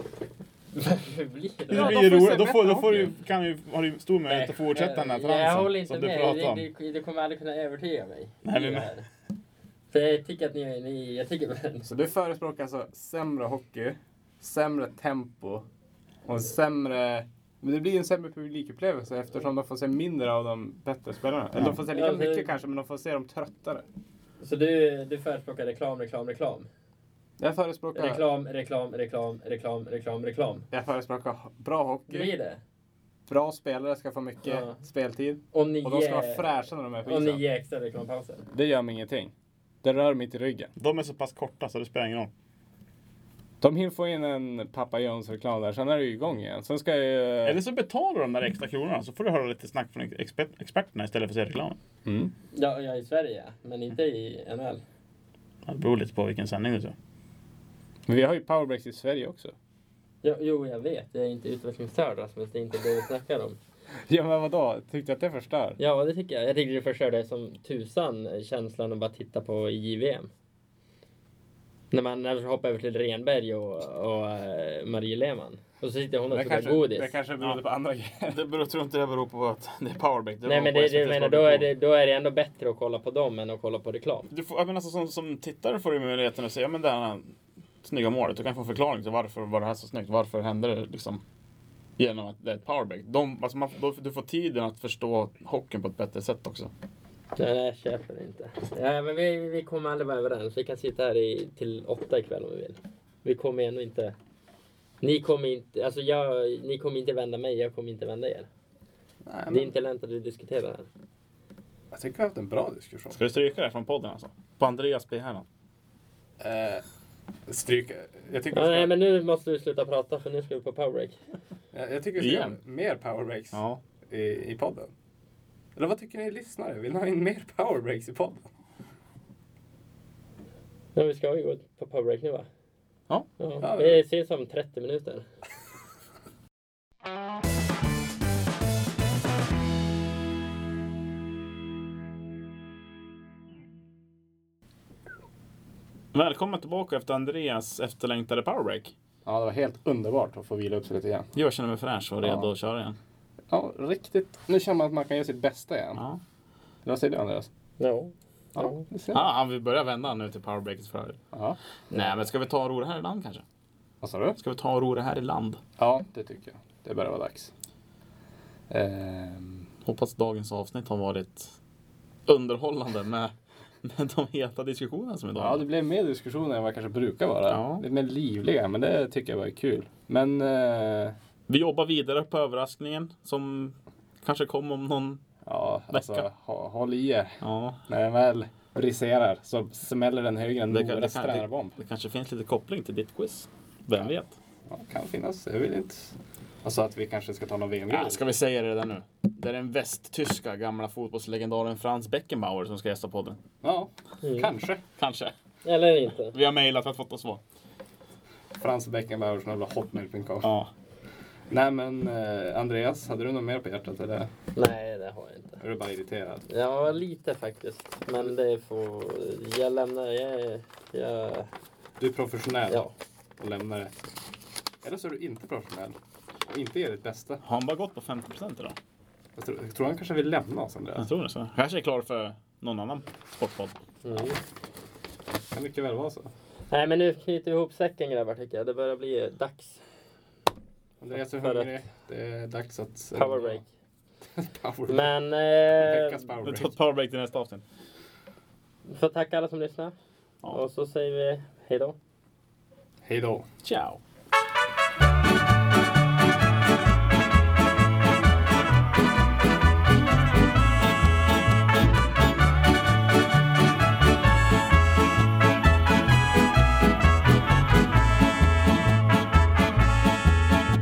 S1: (laughs) Hur blir det?
S2: Det
S3: Ja,
S2: blir
S3: de
S2: ju
S3: får
S2: roligt.
S3: se
S2: Då, får, då
S3: bättre
S2: får du,
S3: hockey.
S2: kan du, har du stor möjlighet att fortsätta den här
S1: Nej, eh, Jag håller
S2: transen
S1: inte
S2: som du
S1: med.
S2: pratar
S1: Du,
S2: om.
S1: du, du kommer aldrig kunna övertyga mig.
S2: Nej, men-
S1: I det här. För jag tycker att ni... ni jag tycker...
S3: Så du förespråkar alltså sämre hockey, sämre tempo och en sämre... Men det blir en sämre publikupplevelse eftersom de får se mindre av de bättre spelarna. Eller de får se lika
S1: Ja, det-
S3: mycket kanske, men de får se dem tröttare.
S1: Så du, du förespråkar reklam, reklam, reklam.
S3: Jag förespråkar,
S1: Reklam, reklam, reklam, reklam, reklam, reklam.
S3: jag förespråkar bra
S1: Det
S3: hockey,
S1: blir det.
S3: bra spelare ska få mycket
S1: Ja.
S3: speltid
S1: Om ni
S3: och de ska vara
S1: ger-
S3: fräscha när de är på
S1: Om ni
S3: isen.
S1: ger extra reklampauser.
S3: Det gör mig ingenting. Det rör mig inte i ryggen.
S2: De är så pass korta så det spelar ingen roll.
S3: De hinner få in en Papa Jones-reklam där, sen är det ju igång igen. Sen ska ju...
S4: Eller så betalar du de där extra kronorna så får du höra lite snack från expert, experterna istället för att se reklamen.
S3: Mm.
S1: Ja, ja, i Sverige, men inte i NHL.
S4: Ja, Det beror lite på vilken sändning du ser.
S3: Men vi har ju powerbreaks i Sverige också.
S1: Jo, jo, jag vet. Jag är inte utvecklingsstörd, Rasmus. Det är inte det vi snackar om.
S3: Ja men vadå, tyckte du att det förstör?
S1: Ja, det tycker jag. Jag tycker det förstörde som tusan känslan att bara titta på JVM. När man, när man hoppar över till Renberg och, och eh, Marie Lehmann. Och så sitter hon och
S3: Det
S1: tuggar
S3: kanske,
S1: godis.
S3: det kanske berodde på andra grejer.
S2: Det beror, tror inte det beror på att det är powerback.
S1: Nej men det, det, jag menar, då, är det, då är det ändå bättre att kolla på dem än att kolla på reklam.
S2: Du får, jag menar, så, som, som tittare får du möjligheten att se, ja men det här snygga målet. Du kan få en förklaring till varför var det här så snyggt. Varför hände det liksom genom att det är ett powerback. De, alltså man, då, du får tiden att förstå hockeyn på ett bättre sätt också.
S1: Nej, nej jag köper det inte. Ja, men vi, vi kommer aldrig vara överens. Vi kan sitta här i, till åtta ikväll om vi vill. Vi kommer ändå inte... Ni kommer inte, alltså jag, ni kommer inte vända mig, jag kommer inte vända er.
S3: Nej,
S1: Det är
S3: men,
S1: inte lönt att vi diskuterar det här.
S3: jag tycker vi har haft en bra diskussion.
S2: Ska du stryka det här från podden alltså? På Andreas P. Hernan.
S3: Eh, stryk. Jag tycker,
S1: Ja,
S3: vi
S1: nej,
S3: ska,
S1: men nu måste vi sluta prata för nu ska vi på powerbreak.
S3: jag, jag tycker vi ska
S2: Igen.
S3: göra mer powerbreaks
S2: Ja.
S3: i, i podden. Eller vad tycker ni lyssnare? Vill ni ha in mer powerbreaks i podden?
S1: Ja, vi ska ju gå på powerbreak nu va?
S2: Ja.
S1: ja. Vi ses om 30 minuter.
S4: Välkommen tillbaka efter Andreas efterlängtade powerbreak.
S3: Ja, det var helt underbart att få vila upp sig lite igen.
S4: Jag känner mig fräsch och redo
S3: Ja.
S4: att köra igen.
S3: Ja, riktigt. Nu känner man att man kan göra sitt bästa igen.
S4: Ja.
S3: Eller Vad säger du Andreas?
S1: Ja.
S3: Ja, det ser jag.
S4: Ah, han vill börja vända nu till powerbreaket för övrigt.
S3: Ja.
S4: Nej, men ska vi ta och ro det här i land kanske?
S3: Vad sa du?
S4: Ska vi ta och ro det här i land?
S3: Ja, det tycker jag. Det börjar vara dags. Ehm,
S2: Hoppas dagens avsnitt har varit underhållande med, med de heta diskussionerna som idag.
S3: Ja, det blev mer diskussioner än vad det kanske brukar vara.
S2: Ja.
S3: Lite mer livliga, men det tycker jag var kul. Men eh,
S2: Vi jobbar vidare på överraskningen som kanske kom om någon...
S3: ja, alltså,
S2: Vecka.
S3: ha, håll i er.
S2: Ja,
S3: När den väl briserar så smäller den högre än
S2: det, kan- det,
S3: Noras
S2: kan, det,
S3: tränarbomb.
S2: det kanske finns lite koppling till ditt quiz. Vem vet?
S3: Ja, det kan finnas. Jag vill inte... Alltså att vi kanske ska ta någon vm
S2: Ja, ska vi säga det där nu? Det är den västtyska gamla fotbollslegendaren Franz Beckenbauer som ska gästa podden.
S3: Ja, kanske.
S2: Kanske.
S1: Mm. Eller inte.
S2: Vi har mejlat för att få ett svar.
S3: Frans Beckenbauer som jävla hotmail.com.
S2: Ja.
S3: Nej men eh, Andreas, hade du något mer på hjärtat eller
S1: Nej, det har jag inte.
S3: är du bara irriterad?
S1: Ja, lite faktiskt. Men det får... Jag lämnar... Jag... jag
S3: Du är professionell
S1: ja.
S3: och lämnar det. Eller så är du inte professionell och inte ger ditt bästa.
S2: Har han bara gått på 50% idag?
S3: Jag tror, jag tror han kanske vill lämna oss Andreas.
S2: Jag tror det. Så. Kanske är klar för någon annan sportpodd.
S1: Mm.
S3: Det kan mycket väl vara så.
S1: Nej, men nu knyter vi ihop säcken grabbar tycker jag. Det börjar bli dags.
S3: Andreas är
S1: För
S3: hungrig. Det är dags att...
S1: Power break.
S3: (laughs) Power break.
S1: Men... Eh,
S3: Veckans
S2: Vi tar
S3: power break.
S2: ett powerbreak till nästa avsnitt.
S1: får tacka alla som lyssnar. Och så säger vi hej då.
S3: Hej då.
S2: Ciao!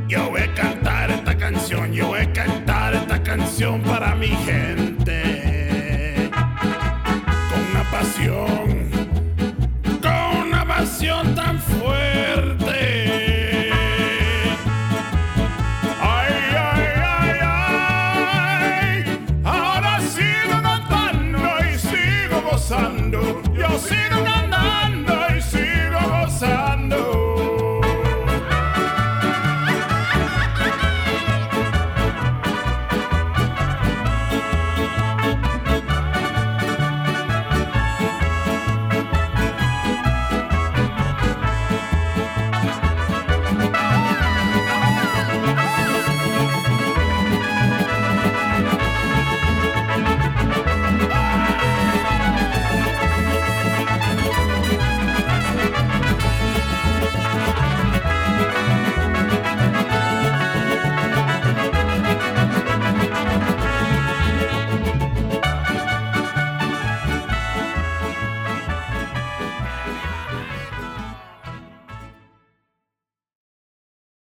S6: Yo voy a cantar esta canción, yo voy a cantar esta canción para mi gente. Con una pasión, con una pasión tan fuerte. Ay, ay, ay, ay. Ahora sigo cantando y sigo gozando. Yo sigo cantando.